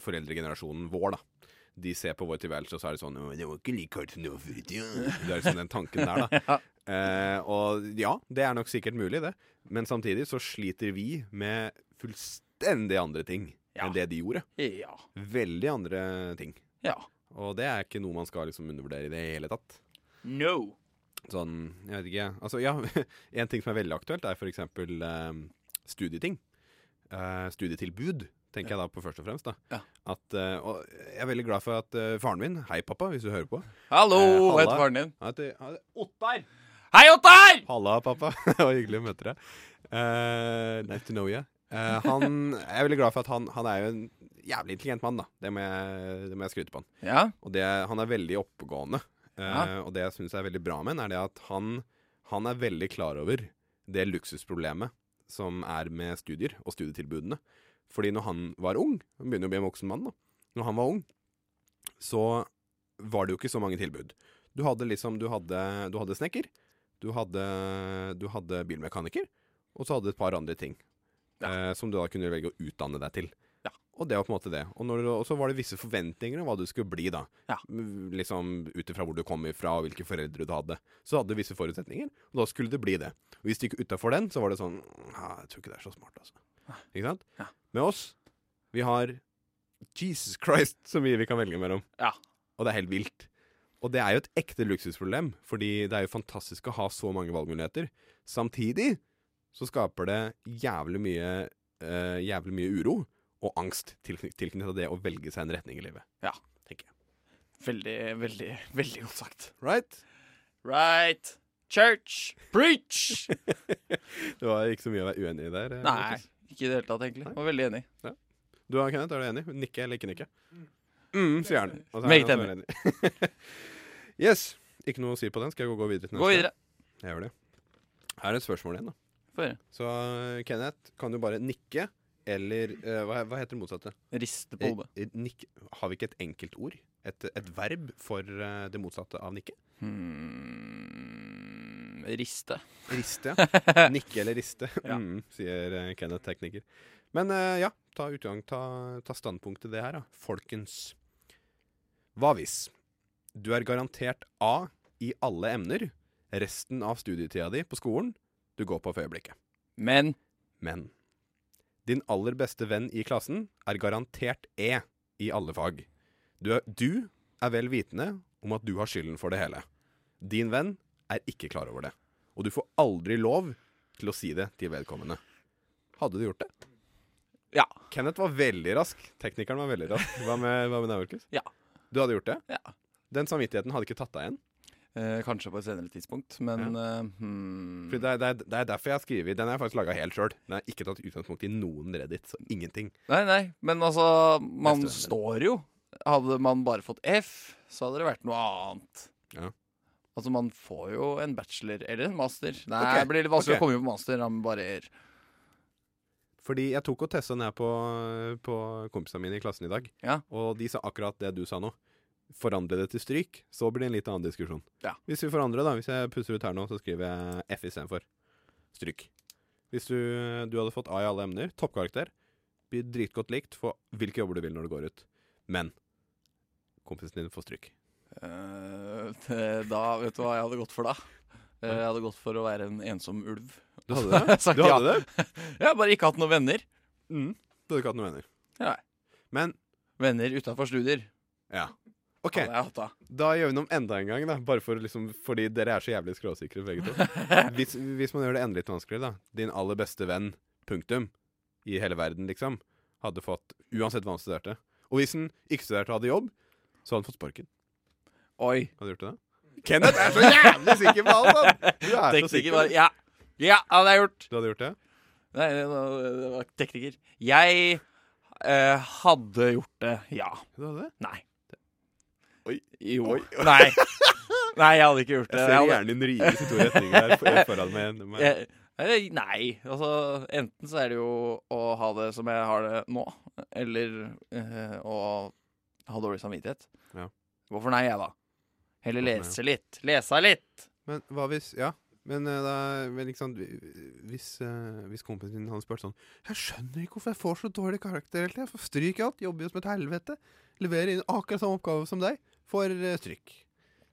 Speaker 3: foreldregenerasjonen vår, da. De ser på vår tilværelse, og så er det sånn «Å, 'Det var ikke like hardt som det var før i tida.» Det er liksom den tanken der, da.
Speaker 2: (laughs) Ja.
Speaker 3: Eh, og ja, det er nok sikkert mulig, det. Men samtidig så sliter vi med fullstendig andre ting
Speaker 2: Ja.
Speaker 3: enn det de gjorde
Speaker 2: Ja.
Speaker 3: veldig andre ting.
Speaker 2: ja.
Speaker 3: Og det er ikke noe man skal liksom undervurdere i det hele tatt.
Speaker 2: No.
Speaker 3: Sånn, jeg vet ikke Altså, ja, (laughs) en ting som er veldig aktuelt, er for eksempel eh, studieting. Eh, studietilbud, tenker jeg da på først og fremst. da
Speaker 2: Ja.
Speaker 3: at, eh, Og jeg er veldig glad for at eh, faren min Hei, pappa, hvis du hører på.
Speaker 2: Hallo,
Speaker 3: Eh,
Speaker 2: hva
Speaker 3: halla.
Speaker 2: heter faren din?
Speaker 3: Han heter han heter Ottar.
Speaker 2: Hei, Ottar!
Speaker 3: Halla, pappa. (laughs) det var hyggelig å møte deg. Eh, nice to know you. Eh, han, jeg er veldig glad for at han, han er jo en jævlig intelligent mann, da. Det må jeg, det må jeg skryte på han.
Speaker 2: Ja.
Speaker 3: Og det, han er veldig oppegående. Eh,
Speaker 2: Ja.
Speaker 3: Og det jeg syns er veldig bra med han, er det at han, han er veldig klar over det luksusproblemet som er med studier og studietilbudene. Fordi når han var ung, han begynner jo å bli en voksen mann, da. Når han var ung, så var det jo ikke så mange tilbud. Du hadde liksom Du hadde, du hadde snekker, du hadde, du hadde bilmekaniker, og så hadde du et par andre ting. Eh, som du da kunne velge å utdanne deg til. Og det var på en måte det. Og, når, du- og så var det visse forventninger om hva du skulle bli, da.
Speaker 2: Ja.
Speaker 3: M- Liksom ut ifra hvor du kom ifra, og hvilke foreldre du hadde. Så hadde du visse forutsetninger, og da skulle det bli det. Og hvis du gikk utafor den, så var det sånn ja, Jeg tror ikke det er så smart, altså. Ikke sant?
Speaker 2: Ja.
Speaker 3: Med oss, vi har Jesus Christ så mye vi kan velge mellom.
Speaker 2: Ja.
Speaker 3: Og det er helt vilt. Og det er jo et ekte luksusproblem, fordi det er jo fantastisk å ha så mange valgmuligheter. Samtidig så skaper det jævlig mye, eh, jævlig mye uro og angst tilkny- tilknyttet det å velge seg en retning i livet.
Speaker 2: Veldig, veldig, veldig godt sagt.
Speaker 3: Right?
Speaker 2: Right. Church. Preach.
Speaker 3: Det var ikke så mye å være uenig i der. eh,
Speaker 2: Nei,
Speaker 3: Markus.
Speaker 2: ikke i det hele tatt, egentlig. Jeg var veldig enig.
Speaker 3: Du og Kenneth, er du enig? Nikke eller ikke nikke? Mm, sier han. Og så er
Speaker 2: Meget
Speaker 3: han også enig. (laughs) yes. Ikke noe å si på den. Skal jeg gå- gå videre til neste?
Speaker 2: Gå videre.
Speaker 3: Jeg gjør det. Her er et spørsmål igjen, da.
Speaker 2: Få høre.
Speaker 3: Så eh, Kenneth, kan du bare nikke eller eh, hva, hva heter det motsatte?
Speaker 2: Riste på hodet.
Speaker 3: Eh, eh, Nikke. Har vi ikke et enkeltord? Et, et verb for eh, det motsatte av nikke?
Speaker 2: Hmm, riste.
Speaker 3: Riste, ja. Nikke eller riste,
Speaker 2: Ja.
Speaker 3: mm, sier eh, Kenneth tekniker. Men eh, ja, ta utgang, ta, ta standpunkt til det her, da. Folkens. Hva hvis du er garantert A i alle emner resten av studietida di på skolen du går på for øyeblikket?
Speaker 2: Men
Speaker 3: Men din aller beste venn i klassen er garantert E i alle fag. Du er, du er vel vitende om at du har skylden for det hele. Din venn er ikke klar over det. Og du får aldri lov til å si det til vedkommende. Hadde du gjort det?
Speaker 2: Ja.
Speaker 3: Kenneth var veldig rask. Teknikeren var veldig rask. Hva med, hva med deg, Markus?
Speaker 2: Ja.
Speaker 3: Du hadde gjort det?
Speaker 2: Ja.
Speaker 3: Den samvittigheten hadde ikke tatt deg igjen.
Speaker 2: eh, kanskje på et senere tidspunkt. Men eh, hmm.
Speaker 3: Fordi det, er, det, er, det er derfor jeg har skrevet Den har jeg faktisk laga helt sjøl. Den har jeg ikke tatt utgangspunkt i noen Reddit. Så ingenting.
Speaker 2: Nei, nei. Men altså, man
Speaker 3: Neste venn.
Speaker 2: står jo. Hadde man bare fått F, så hadde det vært noe annet.
Speaker 3: Ja.
Speaker 2: Altså, man får jo en bachelor eller en master. Nei,
Speaker 3: Ok,
Speaker 2: det blir litt vanskelig
Speaker 3: ok.
Speaker 2: å komme inn på master. Han bare er
Speaker 3: Fordi jeg tok og testa den her på, på kompisene mine i klassen i dag,
Speaker 2: Ja.
Speaker 3: og de sa akkurat det du sa nå. Forandre det til stryk, så blir det en litt annen diskusjon.
Speaker 2: Ja.
Speaker 3: Hvis vi forandrer, da. Hvis jeg pusser ut her nå, så skriver jeg F istedenfor stryk. Hvis du, du hadde fått A i alle emner, toppkarakter, blir dritgodt likt, få hvilke jobber du vil når du går ut. Men kompisen din får stryk.
Speaker 2: øh, det- (laughs) Da Vet du hva jeg hadde gått for da? Eh, Jeg hadde gått for å være en ensom ulv. (laughs)
Speaker 3: Du hadde det?
Speaker 2: Sagt
Speaker 3: Du
Speaker 2: ja.
Speaker 3: hadde det?
Speaker 2: Jeg har bare ikke hatt noen venner.
Speaker 3: Mm. Du hadde ikke hatt noen venner.
Speaker 2: Nei.
Speaker 3: Men
Speaker 2: Venner utafor studier.
Speaker 3: ja. OK.
Speaker 2: Hadde jeg hatt da.
Speaker 3: Da gjør vi noe om enda en gang, da. Bare for, liksom, fordi dere er så jævlig skråsikre begge to. Hvis, hvis man gjør det enda litt vanskeligere, da. Din aller beste venn, punktum, i hele verden, liksom, hadde fått Uansett hva han studerte. Og hvis han ikke studerte og hadde jobb, så hadde han fått sparken.
Speaker 2: Oi.
Speaker 3: Hadde du gjort det? da? Kenneth er så jævlig sikker på alt! han! Du er så
Speaker 2: Tekniker
Speaker 3: sikker.
Speaker 2: bare Ja. Ja, det hadde jeg gjort.
Speaker 3: Du hadde gjort det?
Speaker 2: Nei, det var, det var tekniker. Jeg eh, hadde gjort det, ja.
Speaker 3: Du hadde det?
Speaker 2: Nei.
Speaker 3: Oi.
Speaker 2: Jo.
Speaker 3: Oi. (laughs)
Speaker 2: Nei. Nei, jeg hadde ikke gjort det.
Speaker 3: Jeg ser
Speaker 2: hadde-
Speaker 3: hjernen din rives i to retninger der for- foran meg. meg.
Speaker 2: jeg, eh, Nei. Altså, enten så er det jo å ha det som jeg har det nå, eller eh, å ha dårlig samvittighet.
Speaker 3: Ja.
Speaker 2: Hvorfor nei, jeg, da? Heller
Speaker 3: Hvorfor nei,
Speaker 2: lese litt. Lese litt.
Speaker 3: Men hva hvis Ja. Men eh, da men liksom, hvis, eh, hvis kompisen din hadde spurt sånn 'Jeg skjønner ikke hvorfor jeg får så dårlig karakter hele tida. Jeg får stryk i alt. Jobber jo som et helvete. Leverer inn akkurat samme oppgave som deg. Får eh, stryk.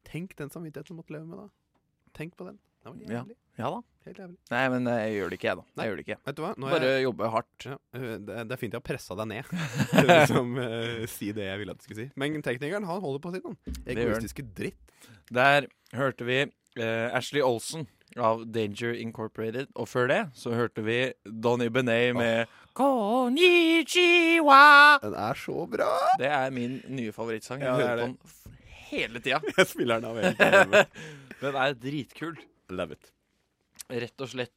Speaker 3: Tenk den samvittigheten du måtte leve med da. Tenk på den. Det var
Speaker 2: Ja.
Speaker 3: jævlig.
Speaker 2: Ja da.
Speaker 3: Helt jævlig.
Speaker 2: Nei, men eh, jeg gjør det ikke, jeg, da.
Speaker 3: Nei.
Speaker 2: Jeg gjør det ikke.
Speaker 3: Vet du hva? Nå er
Speaker 2: Bare
Speaker 3: jeg,
Speaker 2: jobbe hardt.
Speaker 3: ja, eh, det, det er fint jeg har pressa deg ned til å (laughs) liksom, eh, si det jeg ville at du skulle si. Men teknikeren han holder på sitt. han.
Speaker 2: gjør han.
Speaker 3: Egoistiske dritt.
Speaker 2: Der hørte vi eh, Ashley Olsen av Danger Incorporated. Og før det så hørte vi Donny Benet med Konnichiwa.
Speaker 3: Den er så bra! (laughs)
Speaker 2: Det er min nye favorittsang. Jeg
Speaker 3: Ja, det er
Speaker 2: hører på den f- hele tida.
Speaker 3: Jeg spiller den av hele tiden.
Speaker 2: Den er dritkul.
Speaker 3: (laughs) Love it.
Speaker 2: Rett og slett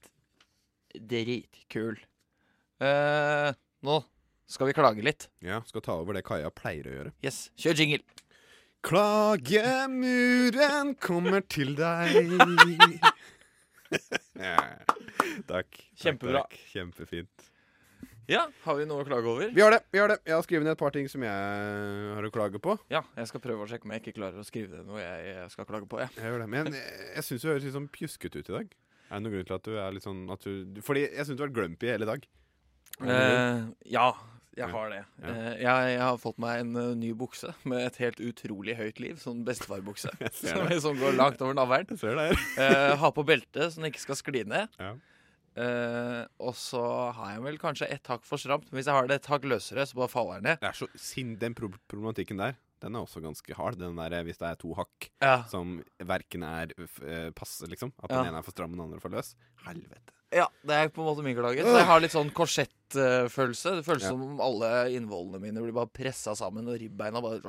Speaker 2: dritkul. Eh, nå skal vi klage litt.
Speaker 3: Ja, skal ta over det Kaja pleier å gjøre.
Speaker 2: Yes, kjør jingle.
Speaker 3: Klagemuren kommer til deg. (laughs) Ja. Takk.
Speaker 2: Kjempebra.
Speaker 3: Takk, takk. Kjempefint.
Speaker 2: Ja, Har vi noe å klage over?
Speaker 3: Vi har det. vi har det Jeg har skrevet ned et par ting som jeg har å klage på.
Speaker 2: Ja, jeg skal prøve å sjekke om jeg ikke klarer å skrive det noe jeg eh, skal klage på. Ja.
Speaker 3: Jeg gjør det Men jeg jeg syns du høres litt sånn pjuskete ut i dag. Er det noen grunn til at du er litt sånn at du, Fordi jeg syns du har vært grumpy hele dag.
Speaker 2: Eh, ja, jeg
Speaker 3: Ja.
Speaker 2: har det.
Speaker 3: Ja.
Speaker 2: Eh, jeg, jeg har fått meg en eh, ny bukse med et helt utrolig høyt liv. Sånn bestefarbukse.
Speaker 3: (laughs) ser
Speaker 2: (laughs) som,
Speaker 3: det.
Speaker 2: som går langt over navlen.
Speaker 3: Jeg ser det her.
Speaker 2: Uh, har på belte så den ikke skal skli ned.
Speaker 3: Ja.
Speaker 2: Eh, og så har jeg vel kanskje ett hakk for stramt. Men hvis jeg har det et hakk løsere, så bare faller den ned.
Speaker 3: Det er så sinn, Den pro problematikken der, den er også ganske hard. Den der hvis det er to hakk
Speaker 2: Ja.
Speaker 3: som verken er f- eh, passe, liksom. At
Speaker 2: Ja.
Speaker 3: den ene er for stram og den andre for løs. Helvete.
Speaker 2: ja, det er på en måte min klage. Så jeg har litt sånn korsettfølelse. Det føles
Speaker 3: Ja.
Speaker 2: som om alle innvollene mine blir bare pressa sammen, og ribbeina bare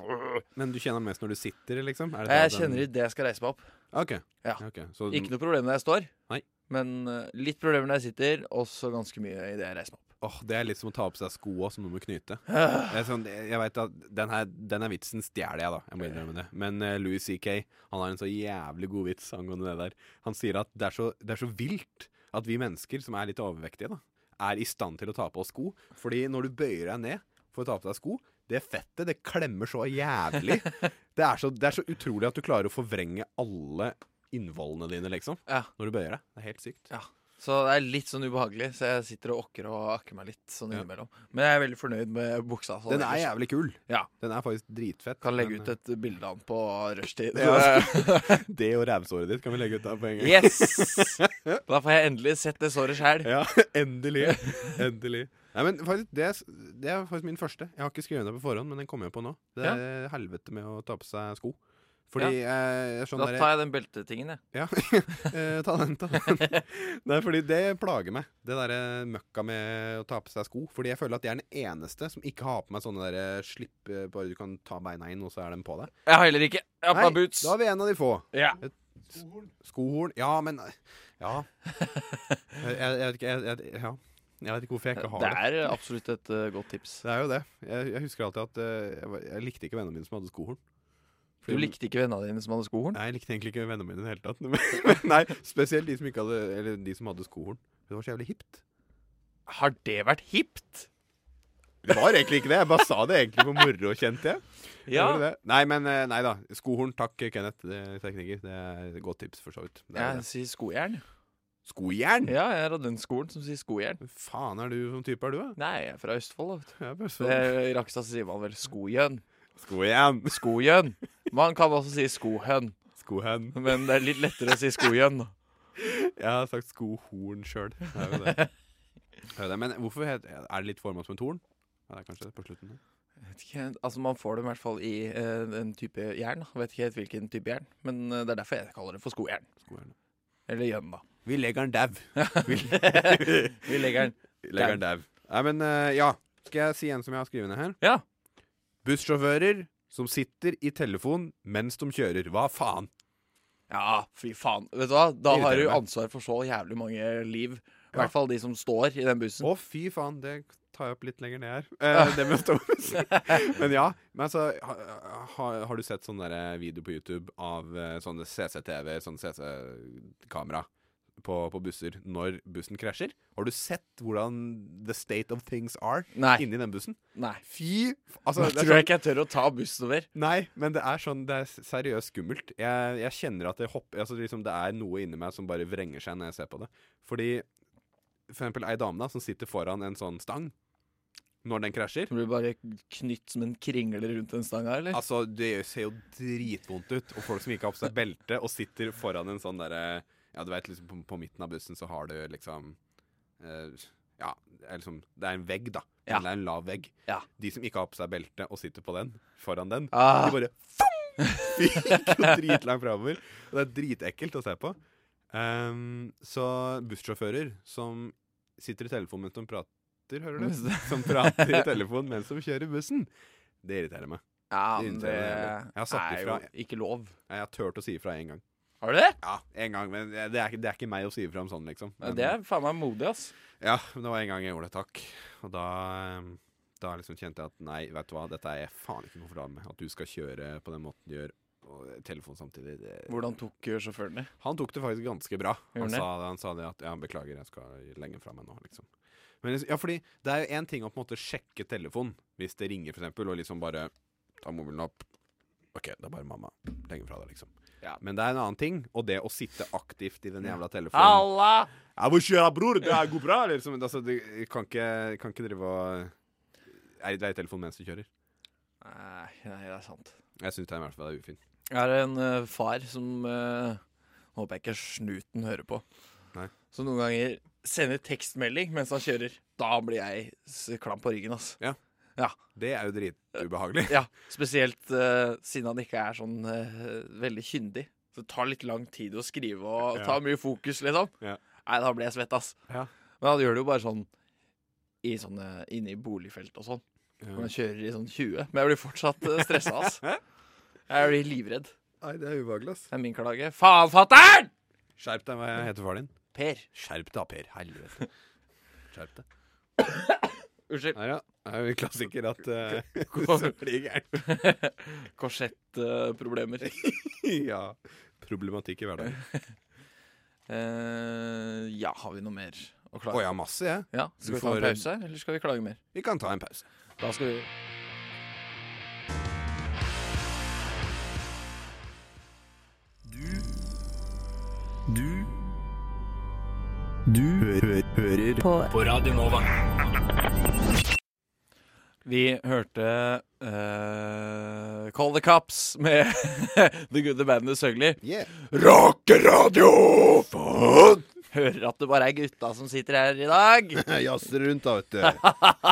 Speaker 3: Men du kjenner mest når du sitter, liksom? Er
Speaker 2: Jeg
Speaker 3: den-
Speaker 2: kjenner idet jeg skal reise meg opp.
Speaker 3: Ok.
Speaker 2: Ja.
Speaker 3: Ok, Så
Speaker 2: Ikke noe problem når jeg står,
Speaker 3: Nei.
Speaker 2: men eh, litt problemer når jeg sitter, og så ganske mye idet jeg reiser meg opp.
Speaker 3: åh, det er litt som å ta på seg skoa som du må knyte. (sighs)
Speaker 2: Øh.
Speaker 3: Det er sånn, jeg vet at den her, denne vitsen stjeler jeg, da. Jeg må innrømme det. Men eh, Louis C.K. han har en så jævlig god vits angående det der. Han sier at det er, så, det er så vilt at vi mennesker som er litt overvektige, da, er i stand til å ta på oss sko. Fordi når du bøyer deg ned for å ta på deg sko, det fettet det klemmer så jævlig. Det er så, det er så utrolig at du klarer å forvrenge alle innvollene dine, liksom.
Speaker 2: Ja.
Speaker 3: Når du bøyer deg. Det er helt sykt.
Speaker 2: Så det er litt sånn ubehagelig, så jeg sitter og åkker og akker meg litt sånn
Speaker 3: Ja.
Speaker 2: innimellom. Men jeg er veldig fornøyd med buksa. Så
Speaker 3: Den er
Speaker 2: ellers
Speaker 3: jævlig kul.
Speaker 2: Ja.
Speaker 3: Den er faktisk dritfett.
Speaker 2: Kan legge
Speaker 3: men,
Speaker 2: ut et bilde av den på rushtid.
Speaker 3: Ja. eh, Det og rævsåret ditt kan vi legge ut der på en gang.
Speaker 2: (laughs)
Speaker 3: (laughs)
Speaker 2: Yes! Da får jeg endelig sett det såret sjæl.
Speaker 3: Ja,
Speaker 2: (laughs)
Speaker 3: endelig. Endelig. Nei, men faktisk, det, er s- det er faktisk min første. Jeg har ikke skrevet det på forhånd, men den kommer jeg på nå. Det
Speaker 2: Ja.
Speaker 3: er helvete med å ta på seg sko. Fordi eh, jeg
Speaker 2: Da
Speaker 3: skjønner
Speaker 2: tar jeg den beltetingen, jeg.
Speaker 3: (laughs) Ja, eh, ta den, ta
Speaker 2: (laughs)
Speaker 3: den. Nei, fordi det plager meg. Det derre møkka med å ta på seg sko. Fordi jeg føler at jeg er den eneste som ikke har på meg sånne derre slipp eh, Bare du kan ta beina inn, og så er den på deg.
Speaker 2: Jeg har heller ikke. Jeg har på meg boots.
Speaker 3: da er vi en av de få.
Speaker 2: Ja.
Speaker 4: Skohorn.
Speaker 3: Skohorn Ja, men eh,
Speaker 2: (laughs)
Speaker 3: Ja. Jeg, jeg, jeg, vet ikke- jeg, jeg, ja. jeg vet ikke hvorfor jeg ikke har
Speaker 2: Det
Speaker 3: det.
Speaker 2: er absolutt et eh, godt tips.
Speaker 3: Det er jo det. Jeg, jeg husker alltid at eh, jeg, var- jeg likte ikke vennene mine som hadde skohorn.
Speaker 2: Du likte ikke vennene dine som hadde skohorn?
Speaker 3: Nei, jeg likte egentlig ikke vennene mine i det hele tatt. (laughs) Men nei, Spesielt de som, ikke hadde, eller de som hadde skohorn. Det var så jævlig hipt.
Speaker 2: Har det vært hipt?
Speaker 3: Det var egentlig ikke det. Jeg bare sa det egentlig for moro, kjente jeg.
Speaker 2: Ja.
Speaker 3: Gjorde det. Nei, men eh, nei da. Skohorn, takk, Kenneth. Det er tekniker. Det er et godt tips, for så vidt. Det er
Speaker 2: Jeg sier skojern.
Speaker 3: det. Skojern?
Speaker 2: Ja, jeg er av den skolen som sier skojern.
Speaker 3: Hvem faen er du som type, er du, da?
Speaker 2: Nei, jeg er fra Østfold. da, vet du.
Speaker 3: Jeg er bare
Speaker 2: Det
Speaker 3: sånn.
Speaker 2: I Rakstad så sier man vel skojøn.
Speaker 3: Skojern.
Speaker 2: Skojøn. Man kan også si skohøn,
Speaker 3: Skohen.
Speaker 2: men det er litt lettere å si skojøn.
Speaker 3: Jeg har sagt skohorn sjøl. Det er jo det. (laughs) Det er jo det. Men hvorfor het, er det litt forma som en torn? Ja, det er kanskje det på slutten. der.
Speaker 2: Jeg vet ikke, altså Man får det i hvert fall i eh, en type jern. da. Jeg vet ikke helt hvilken type jern, men eh, det er derfor jeg kaller det for skojern.
Speaker 3: Skojern.
Speaker 2: Eller jønn, da.
Speaker 3: Vi legger den dau.
Speaker 2: Vi legger den.
Speaker 3: Legger den dau. Nei, men eh, ja. Skal jeg si en som jeg har skrevet ned her?
Speaker 2: Ja.
Speaker 3: Bussjåfører som sitter i telefon mens de kjører. Hva faen?
Speaker 2: Ja, fy faen. Vet du hva? Da har du
Speaker 3: Irriterende.
Speaker 2: ansvar for så jævlig mange liv. I
Speaker 3: Ja.
Speaker 2: hvert fall de som står i den bussen.
Speaker 3: Å, fy faen. Det tar jeg opp litt lenger ned her. Eh, det med å stå (laughs) Men ja. Men altså, ha, ha, har du sett sånn der video på YouTube av eh, sånne CCTV, sånn CC-kamera på, på busser når bussen krasjer? Har du sett hvordan the state of things are
Speaker 2: Nei.
Speaker 3: inni den bussen?
Speaker 2: Nei.
Speaker 3: Fy f- altså,
Speaker 2: Da
Speaker 3: det er
Speaker 2: tror
Speaker 3: sånn-
Speaker 2: jeg ikke jeg tør å ta bussen over.
Speaker 3: Nei, men det er sånn, det er seriøst skummelt. Jeg, jeg kjenner at det hopper altså liksom, Det er noe inni meg som bare vrenger seg når jeg ser på det. Fordi for eksempel ei dame da som sitter foran en sånn stang når den krasjer.
Speaker 2: Du blir bare knytt som en kringle rundt den stanga, eller?
Speaker 3: Altså, Det ser jo dritvondt ut. Og folk som ikke har på seg belte og sitter foran en sånn derre Ja, du veit, liksom, på, på midten av bussen så har du liksom eh, Ja, det er liksom Det er en vegg, da. Men
Speaker 2: Ja.
Speaker 3: Det er en lav vegg.
Speaker 2: Ja.
Speaker 3: De som ikke har på seg belte og sitter på den, foran den,
Speaker 2: Ah,
Speaker 3: De bare fung! gikk jo dritlangt framover. Og det er dritekkelt å se på. Ehm, så bussjåfører som sitter i telefonen mens de prater,
Speaker 2: (laughs)
Speaker 3: hører du? (laughs) Som prater i telefonen mens de kjører bussen. Det irriterer meg.
Speaker 2: ja,
Speaker 3: det
Speaker 2: men
Speaker 3: irriterer
Speaker 2: det
Speaker 3: meg jævlig. Jeg har sagt
Speaker 2: er jo
Speaker 3: ifra.
Speaker 2: ikke lov.
Speaker 3: Jeg har turt å si ifra én gang.
Speaker 2: Har du det?
Speaker 3: Ja, én gang, men det er, ikke- det er ikke meg å si ifra om sånn, liksom.
Speaker 2: Ja,
Speaker 3: Men,
Speaker 2: det er faen meg modig, ass.
Speaker 3: Ja, men det var en gang jeg gjorde det, takk. Og da, ehm, da liksom kjente jeg at nei, vet du hva, dette er jeg faen ikke komfortabel med. At du skal kjøre på den måten du gjør, og telefon samtidig. Det,
Speaker 2: Hvordan tok eh, sjåføren det?
Speaker 3: Han tok det faktisk ganske bra. Han
Speaker 2: Gjorde han
Speaker 3: sa, han sa det at ja, beklager, jeg skal lenge fra meg nå, liksom. Men liksom- ja, fordi det er jo én ting å på en måte sjekke telefonen hvis det ringer, for eksempel, og liksom bare ta mobilen opp. OK, det er bare mamma. Lenge fra deg, liksom.
Speaker 2: Ja.
Speaker 3: Men det er en annen ting, og det å sitte aktivt i den jævla telefonen
Speaker 2: Halla!
Speaker 3: ja, 'Hvor kjører jeg, bror? Det her går bra?' Liksom. Altså, du kan ikke, kan ikke drive og Nei, Det er i telefonen mens du kjører.
Speaker 2: Nei, nei, det er sant.
Speaker 3: Jeg syns det er i hvert fall det er ufint.
Speaker 2: Jeg har en eh, far som eh, Håper jeg ikke snuten hører på.
Speaker 3: Nei.
Speaker 2: Som noen ganger sender tekstmelding mens han kjører. Da blir jeg s- klam på ryggen, ass.
Speaker 3: Det er jo dritubehagelig.
Speaker 2: (laughs) Ja, Spesielt eh, siden han ikke er sånn eh, veldig kyndig. Så det tar litt lang tid å skrive og
Speaker 3: Ja.
Speaker 2: tar mye fokus, liksom.
Speaker 3: Ja.
Speaker 2: Nei, da blir jeg svett, ass.
Speaker 3: Ja.
Speaker 2: Men han gjør det jo bare sånn i sånne, inne i boligfelt og sånn. Hvor
Speaker 3: Ja.
Speaker 2: han kjører i sånn 20. Men jeg blir fortsatt eh, stressa,
Speaker 3: (laughs)
Speaker 2: ass. Jeg blir livredd.
Speaker 3: Nei, det er ubehagelig, ass.
Speaker 2: Det er min klage. Faen, fatter'n!
Speaker 3: Skjerp deg, hva heter faren din?
Speaker 2: Per.
Speaker 3: Skjerp deg, Per. Helvete. Skjerp deg.
Speaker 2: Unnskyld.
Speaker 3: Her, ja. Det er jo en klassiker at eh, (laughs) så blir det gærent.
Speaker 2: Korsettproblemer.
Speaker 3: (laughs) ja. Problematikk i hverdagen.
Speaker 2: Eh, ja, har vi noe mer å
Speaker 3: Å,
Speaker 2: klage?
Speaker 3: ja, masse, jeg.
Speaker 2: ja. Skal
Speaker 3: Du
Speaker 2: vi ta
Speaker 3: får
Speaker 2: en
Speaker 3: en-
Speaker 2: pause, eller skal vi klage mer?
Speaker 3: Vi kan ta en pause.
Speaker 2: Da skal vi Vi hørte eh, Call the Cops med (laughs) The Good, The Bad and The Sugly.
Speaker 3: Yeah.
Speaker 2: Rockeradio! Faen! Hører at det bare er gutta som sitter her i dag.
Speaker 3: Jazzer rundt, da, (laughs) vet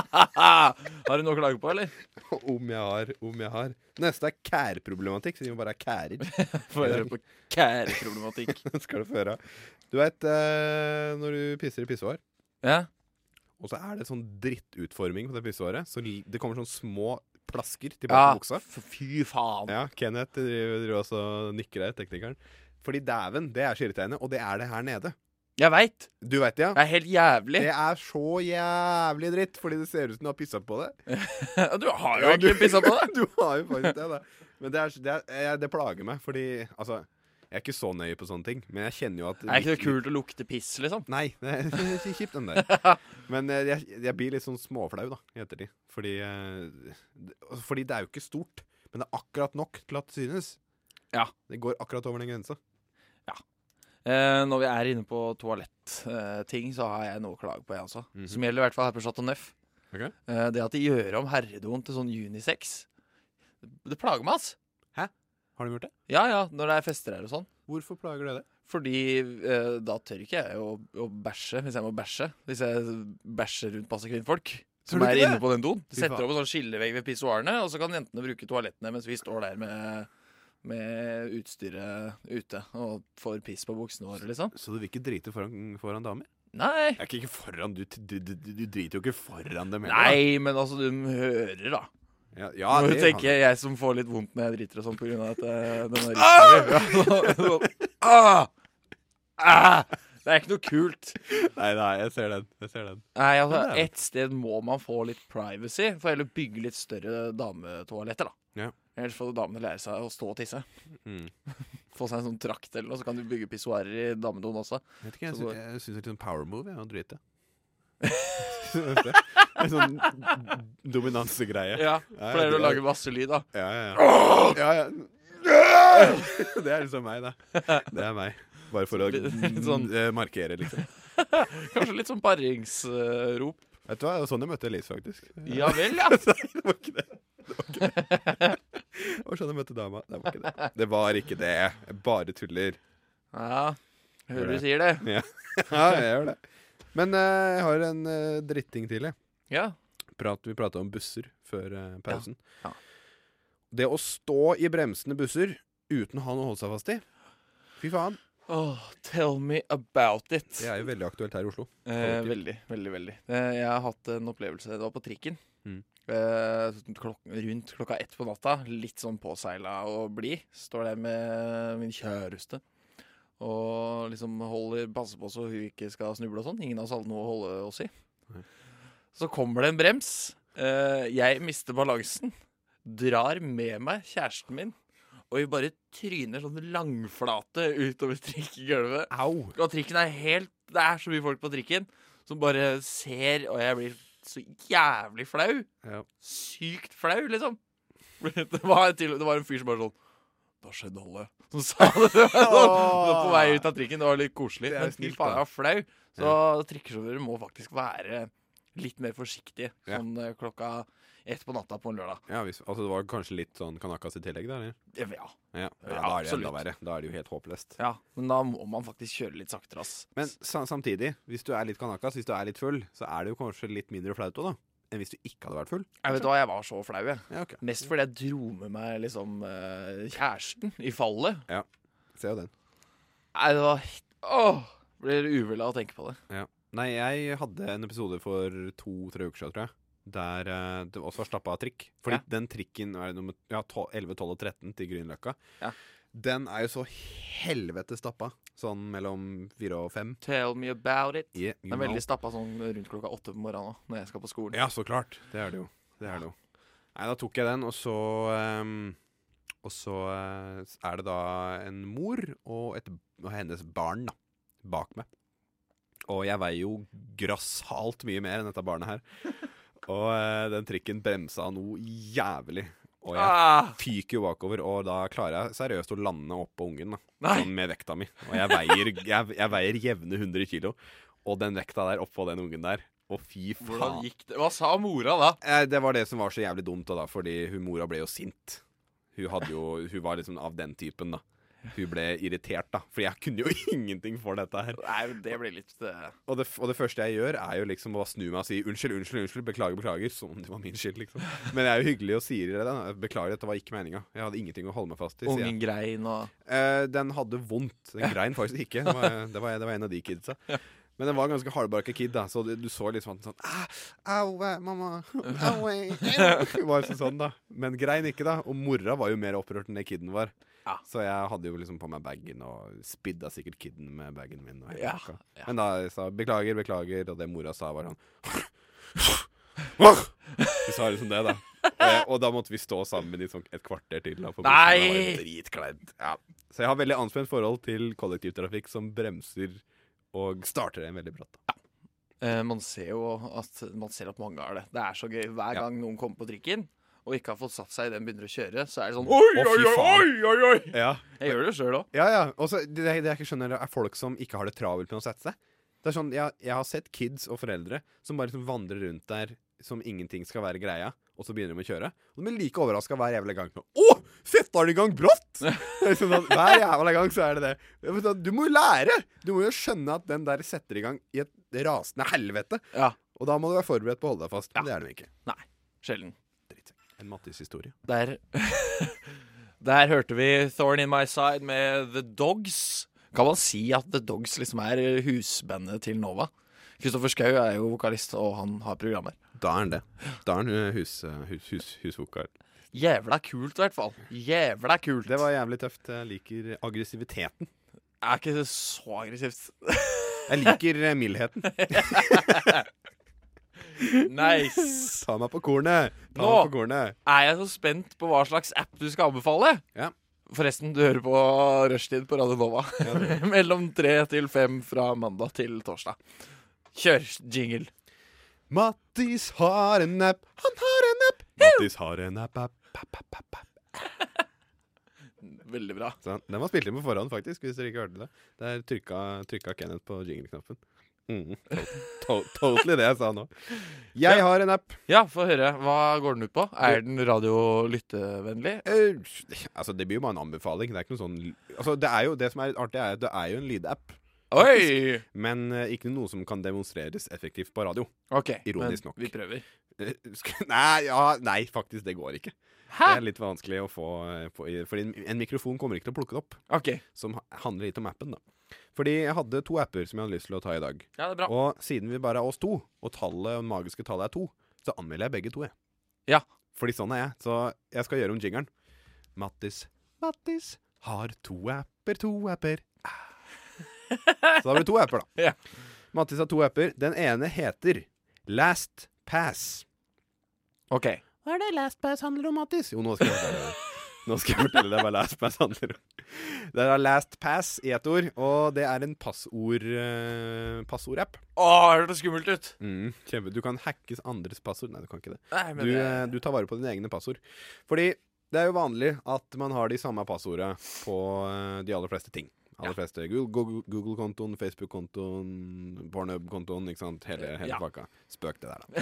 Speaker 2: (laughs) Har du noe å klage på, eller?
Speaker 3: du. om jeg har, om jeg har. Neste er kærproblematikk, siden vi bare er kærer. (laughs)
Speaker 2: Få høre på kæreproblematikk.
Speaker 3: skal du få høre. Du veit eh, når du pisser i pissoar,
Speaker 2: Ja?
Speaker 3: og så er det sånn drittutforming på det pissoaret, så li- det kommer sånn små plasker tilbake
Speaker 2: ja.
Speaker 3: i buksa.
Speaker 2: f- Fy faen.
Speaker 3: Ja, Kenneth driver, driver også og nikker der, teknikeren. Fordi dæven, det er så irriterende, og det er det her nede.
Speaker 2: Jeg veit.
Speaker 3: Du veit det, ja?
Speaker 2: Det er helt jævlig. (laughs)
Speaker 3: Det er så jævlig dritt, fordi det (laughs) ser ut som du har pissa på det. (laughs)
Speaker 2: Du har jo egentlig pissa på det.
Speaker 3: Du har jo faktisk det. da. Men det, er, det, er, jeg- det plager meg, fordi altså Jeg er ikke så nøye på sånne ting, men jeg kjenner jo at
Speaker 2: Er ikke det kult å lukte piss, liksom?
Speaker 3: Nei, (laughs) det er ikke kjipt, den der. (laughs) Men eh, jeg, jeg blir litt sånn småflau da, i ettertid. Fordi, eh, det- altså, fordi det er jo ikke stort, men det er akkurat nok til at det synes.
Speaker 2: Ja.
Speaker 3: Det går akkurat over den grensa.
Speaker 2: Eh, når vi er inne på toalettting, så har jeg noe å klage på, jeg også.
Speaker 3: Mhm.
Speaker 2: Som gjelder i hvert fall her på Chateau Neuf.
Speaker 3: Ok.
Speaker 2: Eh, det at de gjør om herredoen til sånn unisex, det plager meg, ass.
Speaker 3: Har de gjort det?
Speaker 2: Ja ja, når det er fester her og sånn.
Speaker 3: Hvorfor plager det det?
Speaker 2: Fordi eh, da tør ikke jeg å, å bæsje hvis jeg må bæsje. Hvis jeg bæsjer rundt masse kvinnfolk som
Speaker 3: du
Speaker 2: er
Speaker 3: ikke det?
Speaker 2: inne på den doen. De
Speaker 3: Fy
Speaker 2: setter
Speaker 3: faen.
Speaker 2: opp en sånn skillevegg ved pissoarene, og så kan jentene bruke toalettene mens vi står der med, med utstyret ute og får piss på buksene våre, liksom.
Speaker 3: Så du vil ikke drite foran, foran damer?
Speaker 2: Nei.
Speaker 3: Jeg er ikke ikke foran, du, du, du, du driter jo ikke foran dem. heller, da.
Speaker 2: Nei, men altså, du hører, da.
Speaker 3: Ja,
Speaker 2: Ja,
Speaker 3: ja,
Speaker 2: Nå
Speaker 3: det
Speaker 2: tenker
Speaker 3: kan-
Speaker 2: jeg, jeg som får litt vondt når jeg driter og sånn pga. at eh, den der
Speaker 3: Ah!
Speaker 2: (laughs) rykta ah! ah! Det er ikke noe kult.
Speaker 3: Nei, nei, jeg ser den. Jeg ser den.
Speaker 2: Nei, altså,
Speaker 3: Men det er
Speaker 2: Et sted må man få litt privacy. For heller bygge litt større dametoaletter, da.
Speaker 3: Ja.
Speaker 2: Ellers får damene lære seg å stå og tisse.
Speaker 3: Mm.
Speaker 2: (laughs) Få seg en sånn trakt eller noe, så kan du bygge pissoarer i damedoen også.
Speaker 3: Vet ikke, jeg,
Speaker 2: Så
Speaker 3: sy
Speaker 2: går-
Speaker 3: jeg syns det er litt sånn power move jeg, å (laughs) drite. en sånn dominansegreie.
Speaker 2: Ja,
Speaker 3: Ja,
Speaker 2: Pleier å
Speaker 3: det er-
Speaker 2: lage masse lyd, da.
Speaker 3: Ja, ja, ja. ja, ja. (laughs) Det er liksom meg, det. Det er meg. Bare for å
Speaker 2: Sånn.
Speaker 3: eh, markere, liksom.
Speaker 2: Kanskje litt sånn paringsrop.
Speaker 3: Vet du hva, Det var sånn jeg møtte Elise, faktisk. (laughs)
Speaker 2: Ja vel, ja.
Speaker 3: Det var ikke det. Det var ikke det. Det var sånn jeg møtte dama. Det var ikke det. Det var ikke det. Jeg bare tuller. (laughs)
Speaker 2: ja. Hører du sier det.
Speaker 3: Ja, jeg gjør det. Men eh, jeg har en eh, dritting til, jeg.
Speaker 2: Ja.
Speaker 3: prat, vi prata om busser før eh, pausen.
Speaker 2: Ja.
Speaker 3: Det å stå i bremsende busser uten å ha noe å holde seg fast i Fy faen.
Speaker 2: Åh, Oh, tell me about it.
Speaker 3: Det er jo veldig aktuelt her i Oslo.
Speaker 2: eh,
Speaker 3: kollektivt.
Speaker 2: veldig, veldig. veldig. Eh, jeg har hatt en opplevelse. Det var på trikken.
Speaker 3: Mm.
Speaker 2: Eh, klok rundt klokka ett på natta. Litt sånn påseila og blid. Står der med min kjæreste. Og liksom holder, passer på så hun ikke skal snuble og sånn. Ingen av oss hadde noe å holde oss i.
Speaker 3: Nei.
Speaker 2: Så kommer det en brems. Eh, jeg mister balansen. Drar med meg kjæresten min. Og vi bare tryner sånn langflate utover (laughs) trikkegulvet.
Speaker 3: Au!
Speaker 2: Og trikken er helt Det er så mye folk på trikken som bare ser, og jeg blir så jævlig flau.
Speaker 3: Ja.
Speaker 2: Sykt flau, liksom. (laughs) Det var, til, det var en fyr som bare sånn Hva skjedde, Olle? Som sa det. (laughs) Det var sånn, det var på vei ut av trikken. Det var litt koselig.
Speaker 3: Det er
Speaker 2: Men
Speaker 3: snilt,
Speaker 2: fy faen, jeg
Speaker 3: da.
Speaker 2: var flau. Så trikkesjåfører må faktisk være litt mer forsiktige
Speaker 3: Ja.
Speaker 2: sånn eh, klokka ett på natta på en lørdag.
Speaker 3: Ja, hvis, altså Det var kanskje litt sånn kanakas i tillegg, da? eller?
Speaker 2: Ja, Ja, Ja,
Speaker 3: Ja, da er det enda
Speaker 2: absolutt.
Speaker 3: verre. Da er det jo helt håpløst.
Speaker 2: ja. Men da må man faktisk kjøre litt saktere, ass.
Speaker 3: Men sa samtidig, hvis du er litt kanakas, hvis du er litt full, så er det jo kanskje litt mindre flaut òg, da. Enn hvis du ikke hadde vært full. Mm.
Speaker 2: Jeg vet hva, jeg var så flau, jeg.
Speaker 3: Ja, ok.
Speaker 2: Mest fordi jeg dro med meg liksom eh, kjæresten i fallet.
Speaker 3: Ser jo den.
Speaker 2: Nei, det var Åh! Blir uvel av å tenke på det.
Speaker 3: Nei, jeg hadde en episode for to-tre uker siden, tror jeg. Der eh, det også var stappa av trikk. Fordi
Speaker 2: Ja.
Speaker 3: den trikken er nummer ja, 12, 11, 12 og 13 til Grünerløkka.
Speaker 2: Ja.
Speaker 3: Den er jo så helvete stappa. Sånn mellom fire og fem.
Speaker 2: Tell me about it.
Speaker 3: Yeah,
Speaker 2: Den er veldig stappa sånn rundt klokka åtte på morgenen nå, når jeg skal på skolen.
Speaker 3: Ja, så klart. Det er det jo. Det er det jo. Nei, da tok jeg den, og så ehm, Og så eh, er det da en mor og, et, og hennes barn da, bak meg. Og jeg veier jo grassat mye mer enn dette barnet her.
Speaker 2: (laughs)
Speaker 3: Og eh, den trikken bremsa noe jævlig. Og jeg
Speaker 2: Ah,
Speaker 3: fyker jo bakover, og da klarer jeg seriøst å lande oppå ungen. da
Speaker 2: nei!
Speaker 3: sånn med vekta mi. Og jeg veier, jeg, jeg veier jevne 100 kilo. Og den vekta der oppå den ungen der. Å, fy
Speaker 2: Hvordan
Speaker 3: Sånn, faen.
Speaker 2: gikk det? Hva sa mora da?
Speaker 3: Eh, Det var det som var så jævlig dumt, da, da, fordi hun mora ble jo sint. Hun, hadde jo, hun var liksom av den typen, da. Hun ble irritert, da. For jeg kunne jo (laughs) ingenting for dette her.
Speaker 2: Nei, det blir litt eh,
Speaker 3: Og det, f- og det første jeg gjør, er jo liksom å snu meg og si unnskyld, unnskyld, unnskyld, beklager, beklager. Som om det var min skyld, liksom. Men jeg er jo hyggelig og sier det. da. Beklager, dette var ikke meninga. Jeg hadde ingenting å holde meg fast i. sier jeg.
Speaker 2: Ungen grein og
Speaker 3: Eh, den hadde vondt. Den grein faktisk ikke. Det var, det var, det var en av de kidsa.
Speaker 2: (laughs)
Speaker 3: Men den var ganske hardbarka kid, da, så du, du så liksom at den sånn «Ah, Au, eh, mamma.
Speaker 2: (laughs)
Speaker 3: Au, eh, eh». var liksom sånn, da. Men grein ikke, da. Og mora var jo mer opprørt enn det kiden var.
Speaker 2: Ja.
Speaker 3: Så jeg hadde jo liksom på meg bagen og spidda sikkert kiden med bagen min. Og hele
Speaker 2: Ja,
Speaker 3: pakka.
Speaker 2: ja.
Speaker 3: Men da jeg sa beklager, beklager, og det mora sa, var sånn Du sa liksom det, da. Eh, og da måtte vi stå sammen i sånn et kvarter til. Da, på bussen.
Speaker 2: Nei!
Speaker 3: Det var jo dritkleint. Ja. Så jeg har veldig anspent forhold til kollektivtrafikk som bremser og starter en veldig brått. da.
Speaker 2: Eh, man ser jo at, man ser at mange har det. Det er så gøy. Hver
Speaker 3: Ja.
Speaker 2: gang noen kommer på trikken og ikke har fått satt seg i den, begynner å kjøre, så er det sånn Oi,
Speaker 3: Å, fy
Speaker 2: oi, oi, oi,
Speaker 3: faen.
Speaker 2: oi, oi.
Speaker 3: Ja,
Speaker 2: Jeg gjør det sjøl òg.
Speaker 3: ja. ja. Og så det, det jeg ikke skjønner, er folk som ikke har det travelt med å sette seg. Det er sånn, jeg, jeg har sett kids og foreldre som bare liksom vandrer rundt der som ingenting skal være greia, og så begynner de å kjøre. Og de blir like overraska hver jævla gang. Sånn, Å, setter de i gang brått?! Det er sånn at hver jævla gang så er det det. Jeg vet at Du må jo lære! Du må jo skjønne at den der setter i gang i et rasende helvete.
Speaker 2: Ja.
Speaker 3: Og da må du være forberedt på å holde deg fast. Men det er de ikke.
Speaker 2: Nei. Sjelden.
Speaker 3: Drittsekk. En Mattis-historie.
Speaker 2: Der Der hørte vi Thorn in my side med The Dogs. Kan man si at The Dogs liksom er husbandet til Nova? Kristoffer Schou er jo vokalist, og han har programmer.
Speaker 3: Da er han det. Da er han eh, hus, eh, hus, hus, husvokal.
Speaker 2: Jævla kult, i hvert fall. Jævla kult.
Speaker 3: Det var jævlig tøft. Jeg liker aggressiviteten.
Speaker 2: Er ikke det så aggressivt? (laughs)
Speaker 3: Jeg liker eh, mildheten.
Speaker 2: Nice.
Speaker 3: Ta meg på kornet! Ta
Speaker 2: Nå!
Speaker 3: meg på kornet.
Speaker 2: Er jeg så spent på hva slags app du skal anbefale?
Speaker 3: Ja.
Speaker 2: Forresten, du hører på Rushtid på Radio Nova. (laughs) Mellom tre til fem fra mandag til torsdag. Kjør jingle.
Speaker 3: Mattis har en app, han har en app. Mattis har en app, app. app, app, app, app.
Speaker 2: Veldig bra.
Speaker 3: Sånn. Den var spilt inn på forhånd, faktisk, hvis dere ikke hørte det. Der trykka, trykka Kenneth på jingle-knappen. Mm, to to totally det jeg sa nå. Jeg har en app.
Speaker 2: Ja, få høre. Hva går den ut på? Er den radiolyttevennlig?
Speaker 3: Eh, altså, Det blir jo bare en anbefaling. Det er ikke noe sånn Altså, det er jo det som er litt artig, er at det er jo en lydapp,
Speaker 2: Oi!
Speaker 3: men eh, ikke noe som kan demonstreres effektivt på radio.
Speaker 2: Ok,
Speaker 3: Ironisk nok.
Speaker 2: Vi prøver.
Speaker 3: Eh, sk- (laughs) Nei, ja, nei, faktisk, det går ikke.
Speaker 2: Hæ?
Speaker 3: Det er litt vanskelig å få eh, på, i- Fordi en, en mikrofon kommer ikke til å plukke det opp.
Speaker 2: Ok.
Speaker 3: Som ha- handler litt om appen, da. Fordi jeg hadde to apper som jeg hadde lyst til å ta i dag.
Speaker 2: Ja, det er bra.
Speaker 3: Og siden vi bare er oss to, og tallet, det magiske tallet er to, så anmelder jeg begge to, jeg.
Speaker 2: Ja.
Speaker 3: Fordi sånn er jeg. Så jeg skal gjøre om jingeren. Mattis, Mattis har to apper, to
Speaker 2: (laughs)
Speaker 3: apper. Ah. Så da blir det to apper, da.
Speaker 2: Ja.
Speaker 3: Mattis har to apper. Den ene heter Last Pass.
Speaker 2: Ok.
Speaker 3: Hva er det LastPass handler om, Mattis? Jo, nå skal jeg fortelle deg. Nå skal jeg fortelle deg hva LastPass handler om. Det er LastPass i ett ord, og det er en passord, eh, passordapp.
Speaker 2: Å, hørtes skummelt ut.
Speaker 3: Mm, Kjempe. Du kan hackes andres passord. Nei, du kan ikke det.
Speaker 2: Nei, men
Speaker 3: Du,
Speaker 2: det-
Speaker 3: eh, du tar vare på dine egne passord. Fordi det er jo vanlig at man har de samme passordene på eh, de aller fleste ting. Aller fleste Google- Google- Google-kontoen, Facebook-kontoen, Pornhub-kontoen, ikke sant. Hele, hele
Speaker 2: Eh, Ja.
Speaker 3: pakka. Spøk det der,
Speaker 2: (laughs)
Speaker 3: da.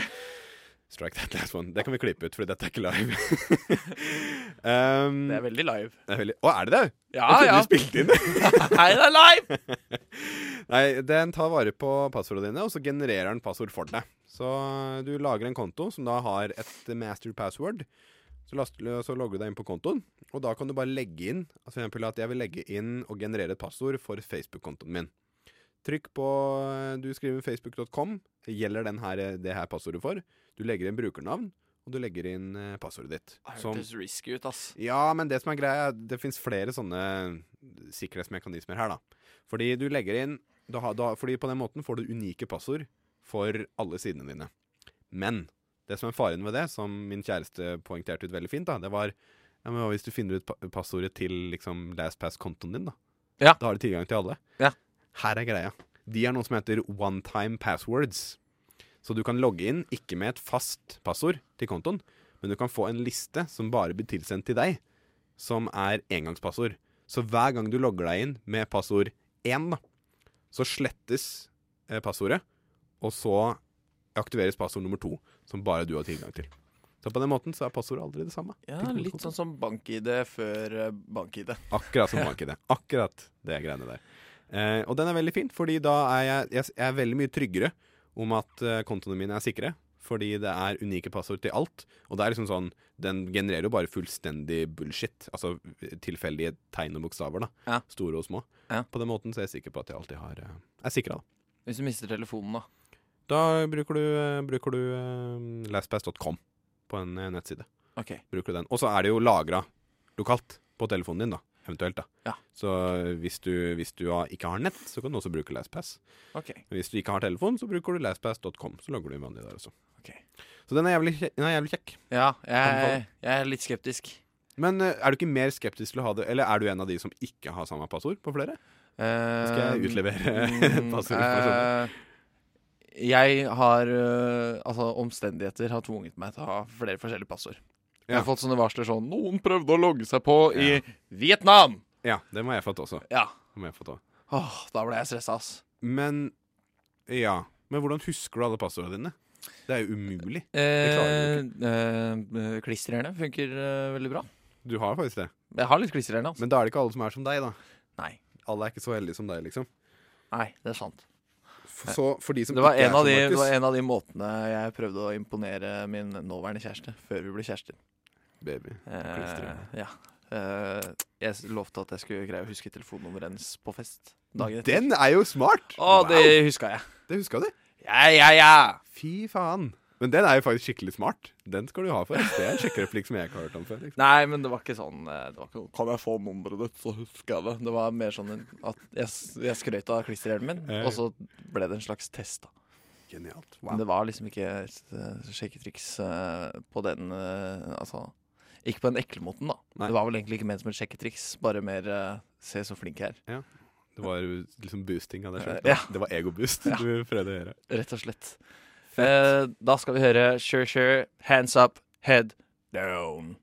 Speaker 3: Strike that last one. Det kan vi klippe ut, for dette er ikke live.
Speaker 2: (laughs)
Speaker 3: (laughs) um,
Speaker 2: Det er veldig live.
Speaker 3: det er veldig... Å, er det det?
Speaker 2: Ja,
Speaker 3: Jeg trodde
Speaker 2: ja.
Speaker 3: du spilte inn det.
Speaker 2: (laughs) Nei, det er live!
Speaker 3: (laughs) Nei, den tar vare på passordene dine, og så genererer den passord for deg. Så eh, du lager en konto som da har et master password. Så, last, så logger du deg inn på kontoen, og da kan du bare legge inn altså For eksempel at jeg vil legge inn og generere et passord for Facebook-kontoen min. Trykk på eh, Du skriver facebook.com. Gjelder den her, eh, det her passordet for? Du legger inn brukernavn, og du legger inn eh, passordet ditt. Som
Speaker 2: Hørtes risky ut, ass.
Speaker 3: ja, men det som er greia, er at det fins flere sånne eh, sikkerhetsmekanismer her, da. Fordi du legger inn da, har- da, Fordi på den måten får du unike passord for alle sidene dine. Men det som er faren ved det, som min kjæreste poengterte ut veldig fint, da, det var ja, men hva hvis du finner ut pa- passordet til liksom LastPass-kontoen din, da?
Speaker 2: Ja.
Speaker 3: Da har du tilgang til alle.
Speaker 2: Ja.
Speaker 3: Her er greia. De er noe som heter one time passwords. Så du kan logge inn, ikke med et fast passord til kontoen, men du kan få en liste som bare blir tilsendt til deg, som er engangspassord. Så hver gang du logger deg inn med passord 1, da, så slettes eh, passordet, og så aktiveres passord nummer 2, som bare du har tilgang til. Så på den måten så er passordet aldri det samme.
Speaker 2: Ja,
Speaker 3: Til
Speaker 2: Litt sånn som bank-ID før eh, bank-ID.
Speaker 3: Akkurat som markedet. Akkurat det greiene der. Eh, og den er veldig fin, fordi da er jeg, jeg, jeg er veldig mye tryggere om at eh, kontoene mine er sikre. Fordi det er unike passord til alt. Og det er liksom sånn, den genererer jo bare fullstendig bullshit. Altså tilfeldige tegn og bokstaver. da
Speaker 2: Ja.
Speaker 3: Store og små.
Speaker 2: Ja.
Speaker 3: På den måten så er jeg sikker på at jeg alltid har eh, er sikra. Da
Speaker 2: Hvis du mister telefonen, da.
Speaker 3: Da bruker du, eh, bruker du eh, lastpass.com på en eh, nettside.
Speaker 2: Ok.
Speaker 3: Bruker du den Og så er det jo lagra lokalt på telefonen din. da eventuelt. da.
Speaker 2: Ja.
Speaker 3: Så eh, hvis du, hvis du har, ikke har nett, så kan du også bruke LastPass.
Speaker 2: Ok.
Speaker 3: Men hvis du ikke har telefon, så bruker du lastpass.com. Så logger du inn vanlig der også.
Speaker 2: Ok.
Speaker 3: Så den er jævlig, kje- den er jævlig kjekk.
Speaker 2: Ja, jeg, jeg er litt skeptisk.
Speaker 3: Men eh, er du ikke mer skeptisk til å ha det, eller er du en av de som ikke har samme passord på flere? Skal jeg utlevere
Speaker 2: Eh,
Speaker 3: (laughs)
Speaker 2: Mm,
Speaker 3: passordet?
Speaker 2: eh, jeg har eh, Altså, omstendigheter har tvunget meg til å ha flere forskjellige passord. Jeg
Speaker 3: Ja.
Speaker 2: har fått sånne varsler sånn Noen prøvde å logge seg på
Speaker 3: Ja.
Speaker 2: i Vietnam!
Speaker 3: Ja, det må jeg fått også.
Speaker 2: Ja.
Speaker 3: Det må jeg fått også.
Speaker 2: Åh, da ble jeg stressa, ass.
Speaker 3: Men ja. Men hvordan husker du alle passordene dine? Det er jo umulig. klarer
Speaker 2: Eh, eh, klistrerne funker eh, veldig bra.
Speaker 3: Du har faktisk det.
Speaker 2: Jeg har litt klistrerne, altså.
Speaker 3: Men da er det ikke alle som er som deg, da.
Speaker 2: Nei.
Speaker 3: Alle er ikke så heldige som deg, liksom.
Speaker 2: Nei, det er sant.
Speaker 3: F- Så for de som
Speaker 2: Det var,
Speaker 3: ikke
Speaker 2: en
Speaker 3: er
Speaker 2: av de,
Speaker 3: som
Speaker 2: det var
Speaker 3: Markus
Speaker 2: en av de måtene jeg prøvde å imponere min nåværende kjæreste før vi ble kjærester.
Speaker 3: Baby.
Speaker 2: Eh,
Speaker 3: Klistrerne.
Speaker 2: ja. Eh, jeg s- lovte at jeg skulle greie å huske telefonnummeret hennes på fest dagen etter.
Speaker 3: Den er jo smart!
Speaker 2: Å,
Speaker 3: Wow,
Speaker 2: det huska jeg.
Speaker 3: det huska du.
Speaker 2: Ja, ja, ja!
Speaker 3: Fy faen. Men den er jo faktisk skikkelig smart. Den skal du ha for. Det er en sjekkereplikk som jeg ikke har hørt om før. Liksom.
Speaker 2: Nei, men det var ikke sånn eh, det var ikke, sånn, Kan jeg få nummeret ditt, så husker jeg det. Det var mer sånn en- at jeg, s- jeg skrøt av klisterhjelmen,
Speaker 3: Ja, ja.
Speaker 2: og så ble det en slags test, da.
Speaker 3: Genialt.
Speaker 2: Men
Speaker 3: Wow.
Speaker 2: det var liksom ikke et eh, sjekketriks eh, på den eh, Altså ikke på den ekle måten, da.
Speaker 3: Nei.
Speaker 2: Det var vel egentlig ikke ment som et sjekketriks, bare mer eh, se så flink jeg er.
Speaker 3: Det var jo liksom boosting av deg sjøl.
Speaker 2: Eh, ja.
Speaker 3: Det var egobost
Speaker 2: Ja.
Speaker 3: du prøvde å gjøre.
Speaker 2: Rett og slett. Eh, da skal vi høre Sure Sure, Hands Up, Head Down.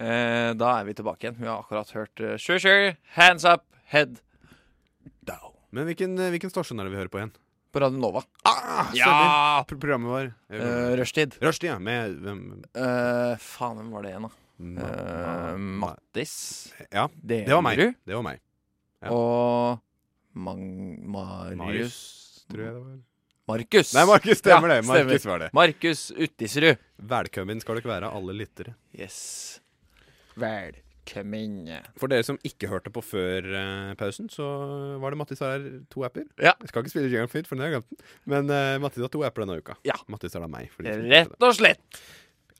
Speaker 2: Eh, da er vi tilbake igjen. Vi har akkurat hørt eh, Sure Sure, Hands Up, Head Down.
Speaker 3: Men hvilken, hvilken stasjon er det vi hører på igjen?
Speaker 2: På Radio Nova.
Speaker 3: Ah, stemmer.
Speaker 2: Ja!
Speaker 3: Pro Programmet vår.
Speaker 2: Eh, Rushtid.
Speaker 3: Rushdie, ja. Med hvem?
Speaker 2: Eh, faen, hvem var det igjen, da? Eh,
Speaker 3: Ma-
Speaker 2: Mattis
Speaker 3: Ja,
Speaker 2: Delerud.
Speaker 3: det var meg. Det var meg, Ja.
Speaker 2: Og Mang... Marius
Speaker 3: Marius, tror jeg det var.
Speaker 2: Markus!
Speaker 3: Nei, Markus, stemmer
Speaker 2: Ja,
Speaker 3: det. Markus var det.
Speaker 2: Markus Uttisrud.
Speaker 3: Velkommen skal dere være, alle lyttere.
Speaker 2: Yes. Velkommen.
Speaker 3: For dere som ikke hørte på før eh, pausen, så var det Mattis har to apper.
Speaker 2: Ja.
Speaker 3: Jeg skal ikke spille Jingle Fit, for den har jeg glemt. den. Men eh, Mattis har to apper denne uka.
Speaker 2: Ja.
Speaker 3: Mattis er da meg. for de som ikke vet det.
Speaker 2: Rett og slett.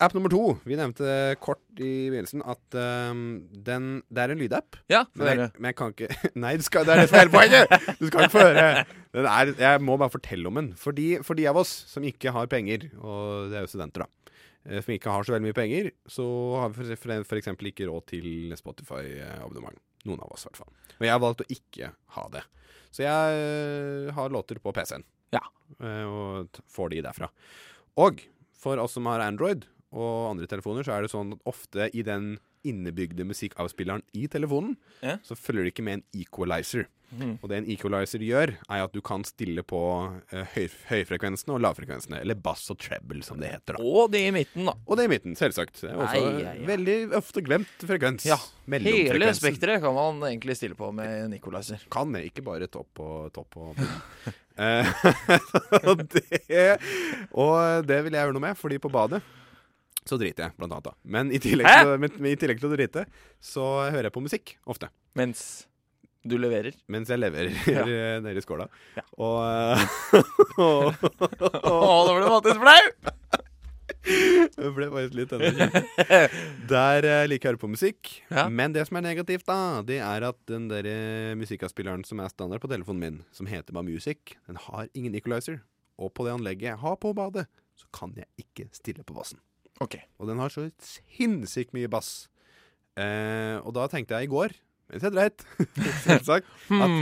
Speaker 3: App nummer to. Vi nevnte kort i begynnelsen at ehm, den, det er en lydapp.
Speaker 2: Ja,
Speaker 3: Men jeg, men jeg kan ikke (laughs) Nei, du skal, det er det som er hele poenget! Du skal ikke få høre. Den er, jeg må bare fortelle om den. For de, for de av oss som ikke har penger, og det er jo studenter, da, eh, som ikke har så veldig mye penger, så har vi for- for- for eksempel ikke råd til Spotify-abonnement. Noen av oss, i hvert fall. Og jeg har valgt å ikke ha det. Så jeg eh, har låter på PC-en,
Speaker 2: Ja.
Speaker 3: Eh, og t- får de derfra. Og for oss som har Android og andre telefoner, så er det sånn at ofte i den innebygde musikkavspilleren i telefonen, så følger det ikke med en equalizer.
Speaker 2: Mhm.
Speaker 3: Og det en equalizer gjør, er at du kan stille på eh, høy, høyfrekvensene og lavfrekvensene. Eller bass og treble, som det heter. da.
Speaker 2: Og det i midten, da.
Speaker 3: Og det er i midten, selvsagt. Det er også
Speaker 2: Ai, ai, ai.
Speaker 3: Veldig ofte glemt frekvens.
Speaker 2: Ja,
Speaker 3: Mellomfrekvensen.
Speaker 2: Hele spekteret kan man egentlig stille på med Nicolizer.
Speaker 3: Kan det, ikke bare topp og
Speaker 2: (laughs)
Speaker 3: topp og bunn. Eh, (laughs) og, det, og det vil jeg gjøre noe med, fordi på badet så driter jeg, blant annet. da. Men i tillegg,
Speaker 2: Hæ?
Speaker 3: til, men, men i tillegg til å drite, så hører jeg på musikk ofte.
Speaker 2: Mens du leverer.
Speaker 3: mens jeg leverer
Speaker 2: Ja.
Speaker 3: (laughs) nede i skåla.
Speaker 2: Ja.
Speaker 3: Og, (laughs) eh,
Speaker 2: Å, nå ble Mattis flau!
Speaker 3: Det ble faktisk litt energi. Der eh, liker jeg å høre på musikk.
Speaker 2: Ja.
Speaker 3: Men det som er negativt, da, det er at den der eh, musikkavspilleren som er standard på telefonen min, som heter bare Music, den har ingen equalizer. Og på det anlegget jeg har på badet, så kan jeg ikke stille på bassen.
Speaker 2: OK.
Speaker 3: Og den har så sinnssykt mye bass. Eh, og da tenkte jeg i går, mens jeg dreit, (laughs) selvsagt, at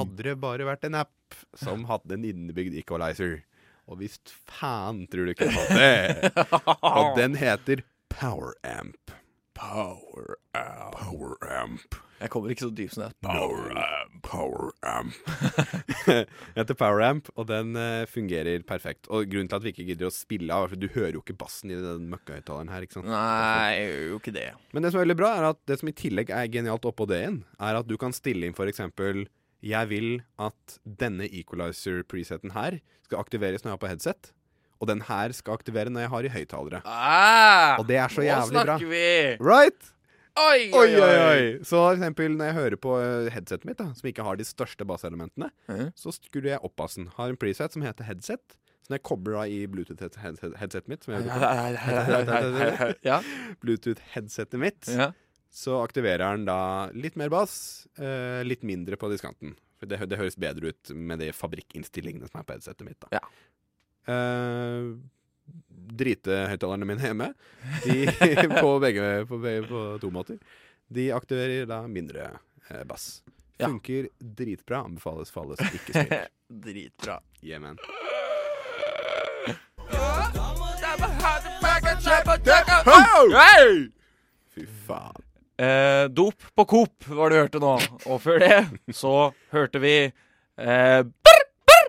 Speaker 3: Hadde det bare vært en app som hadde en innebygd equalizer. Og visst faen tror du ikke jeg hadde det.
Speaker 2: Ah.
Speaker 3: Og den heter PowerAmp. PowerAmp. PowerAmp.
Speaker 2: (laughs) Jeg kommer ikke så dypt som det.
Speaker 3: PowerAmp. PowerAmp. (laughs) Den heter PowerAmp, og den eh, fungerer perfekt. Og grunnen til at vi ikke gidder å spille av, er for du hører jo ikke bassen i den møkkahøyttaleren her, ikke sant?
Speaker 2: Nei, jeg gjør jo ikke det.
Speaker 3: Men det som er veldig bra, er at det som i tillegg er genialt oppå det igjen, er at du kan stille inn f.eks. Jeg vil at denne equalizer-preseten her skal aktiveres når jeg har på headset, og den her skal aktivere når jeg har i høyttalere.
Speaker 2: Ah,
Speaker 3: Og det er så jævlig bra.
Speaker 2: Nå snakker vi!
Speaker 3: Right?
Speaker 2: Oi,
Speaker 3: Oi, oi, oi. Så for eksempel når jeg hører på eh, headsetet mitt, da, som ikke har de største basselementene,
Speaker 2: Mhm.
Speaker 3: så skrur jeg opp bassen. Har en preset som heter headset. Så når jeg kobler da i Bluetooth-headsetet mitt, som jeg
Speaker 2: (laughs) Ja,
Speaker 3: Bluetooth-headsetet mitt,
Speaker 2: ja,
Speaker 3: så aktiverer den da litt mer bass, eh, litt mindre på diskanten. For det, hø- det høres bedre ut med de fabrikkinnstillingene som er på headsetet mitt. da.
Speaker 2: Ja.
Speaker 3: Eh, Dritehøyttalerne mine hjemme, de, (laughs) på, begge, på, begge, på to måter, de aktiverer da mindre eh, bass.
Speaker 2: Ja.
Speaker 3: Funker dritbra. Anbefales for alle som ikke spiller.
Speaker 2: (laughs) Dritbra.
Speaker 3: Yeah, man.
Speaker 2: Hey!
Speaker 3: Fy faen.
Speaker 2: Eh, dop på Coop var det du hørte nå. Og før det så hørte vi eh, brr, brr.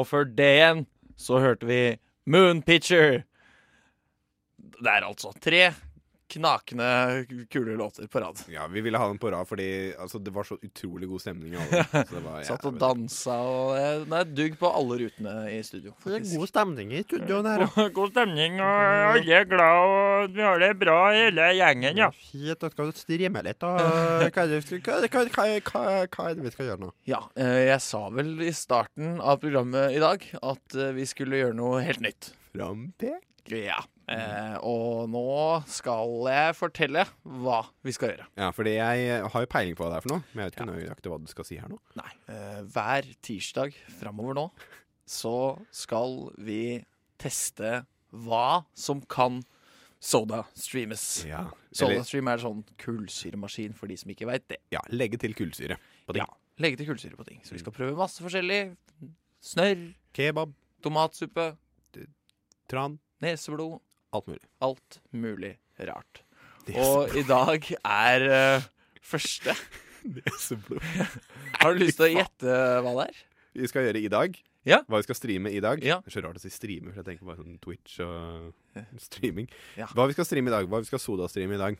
Speaker 2: Og før det igjen så hørte vi Moon Picture. Det er altså tre knakende kule låter på rad.
Speaker 3: Ja, vi ville ha den på rad fordi altså, det var så utrolig god stemning.
Speaker 2: (laughs)
Speaker 3: i alle. Så det var,
Speaker 2: Satt og
Speaker 3: jævlig-
Speaker 2: dansa og eh, Det er dugg på alle rutene i studio. faktisk.
Speaker 3: stemning i studioet
Speaker 2: (laughs) God stemning, og alle er glad, og vi har det bra hele gjengen,
Speaker 3: Fint, da skal du streame litt,
Speaker 2: (laughs)
Speaker 3: da. Hva er det vi skal gjøre nå?
Speaker 2: Ja, eh, jeg sa vel i starten av programmet i dag at eh, vi skulle gjøre noe helt nytt.
Speaker 3: Frampek?
Speaker 2: Ja. Eh, og nå skal jeg fortelle hva vi skal gjøre.
Speaker 3: Ja, fordi jeg har jo peiling på hva det er for noe, men jeg vet ikke nøyaktig hva du skal si her nå.
Speaker 2: Nei. Eh, hver tirsdag framover nå så skal vi teste hva som kan soda streames.
Speaker 3: Ja,
Speaker 2: Soda
Speaker 3: Eller,
Speaker 2: stream er sånn kullsyremaskin for de som ikke veit det.
Speaker 3: ja legge til kullsyre. på ting.
Speaker 2: Ja, legge til kullsyre på ting. Så
Speaker 3: Mm.
Speaker 2: vi skal prøve masse forskjellig. Snørr,
Speaker 3: Kebab,
Speaker 2: tomatsuppe,
Speaker 3: tran,
Speaker 2: neseblod.
Speaker 3: alt mulig.
Speaker 2: Alt mulig rart.
Speaker 3: Det er
Speaker 2: Og i dag er eh,
Speaker 3: (laughs)
Speaker 2: første.
Speaker 3: så blod.
Speaker 2: Har du lyst til å gjette hva det er?
Speaker 3: Vi skal gjøre i dag.
Speaker 2: Ja.
Speaker 3: Hva vi skal streame i dag.
Speaker 2: Ja.
Speaker 3: Det er så rart å si streame, for jeg tenker bare sånn Twitch
Speaker 2: (laughs)
Speaker 3: og streaming.
Speaker 2: Ja.
Speaker 3: Hva vi skal streame i dag? Hva vi skal sodastreame i dag?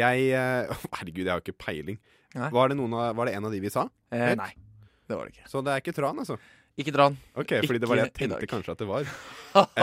Speaker 3: Jeg eh, (laughs) Herregud, jeg har ikke peiling.
Speaker 2: Nei.
Speaker 3: Var det, noen av, var det en av de vi sa?
Speaker 2: Eh, nei. Det var det ikke.
Speaker 3: Så det er ikke tran, altså.
Speaker 2: Ikke (laughs) dra den.
Speaker 3: Ok, fordi det var det jeg
Speaker 2: Ikke i dag.
Speaker 3: tenkte kanskje at det
Speaker 2: (laughs)
Speaker 3: var.
Speaker 2: Eh,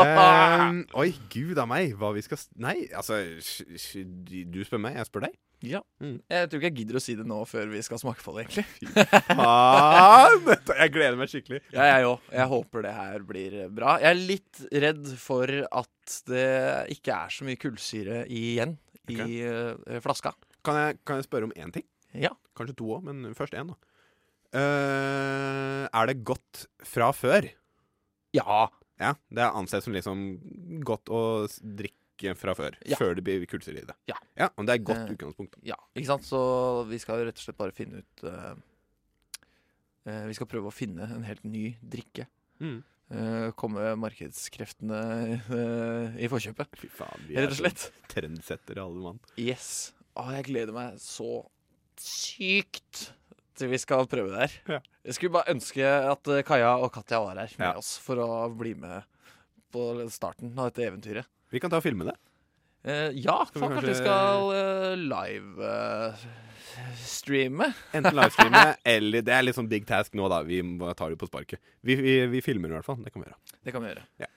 Speaker 3: Ehm, oi, gud a meg, hva vi skal s- Nei, altså sj- sj- Du spør meg, jeg
Speaker 2: (laughs)
Speaker 3: spør deg.
Speaker 2: Ja.
Speaker 3: Mm.
Speaker 2: Jeg tror ikke jeg gidder å si det nå før vi skal smake på det, egentlig.
Speaker 3: Faen! (laughs) Jeg gleder meg skikkelig.
Speaker 2: (laughs) Ja, jeg òg. Jeg håper det her blir bra. Jeg er litt redd for at det ikke er så mye kullsyre igjen i eh, flaska.
Speaker 3: Kan jeg, kan jeg spørre om én ting?
Speaker 2: Ja.
Speaker 3: Kanskje to òg, men først én, da. Eh, er det godt fra før?
Speaker 2: Ja.
Speaker 3: Ja, det er ansett som liksom godt å s- drikke fra før.
Speaker 2: Ja.
Speaker 3: Før det blir kullsyre i det.
Speaker 2: Ja.
Speaker 3: ja men det er et godt
Speaker 2: Eh.
Speaker 3: utgangspunkt.
Speaker 2: Ja, ikke sant? Så vi skal rett og slett bare finne ut eh, eh, Vi skal prøve å finne en helt ny drikke.
Speaker 3: Mm.
Speaker 2: Eh, komme markedskreftene eh, i forkjøpet,
Speaker 3: Fy faen, vi er sånn
Speaker 2: rett og slett. (laughs)
Speaker 3: trendsettere, alle mann.
Speaker 2: Yes. Å, jeg gleder meg så sykt til vi skal prøve det her.
Speaker 3: Ja.
Speaker 2: Jeg skulle bare ønske at eh, Kaja og Katja var her med
Speaker 3: Ja.
Speaker 2: oss for å bli med på starten av dette eventyret.
Speaker 3: Vi kan ta og filme det.
Speaker 2: Eh, ja,
Speaker 3: Skal vi
Speaker 2: faen, kanskje vi
Speaker 3: kanskje-
Speaker 2: skal eh, live eh, streame?
Speaker 3: Enten
Speaker 2: (laughs)
Speaker 3: livestreame eller Det er litt sånn big task nå, da. Vi må- tar det på sparket. Vi, vi, vi filmer i hvert fall. Det kan vi gjøre.
Speaker 2: Det kan vi gjøre.
Speaker 3: Ja.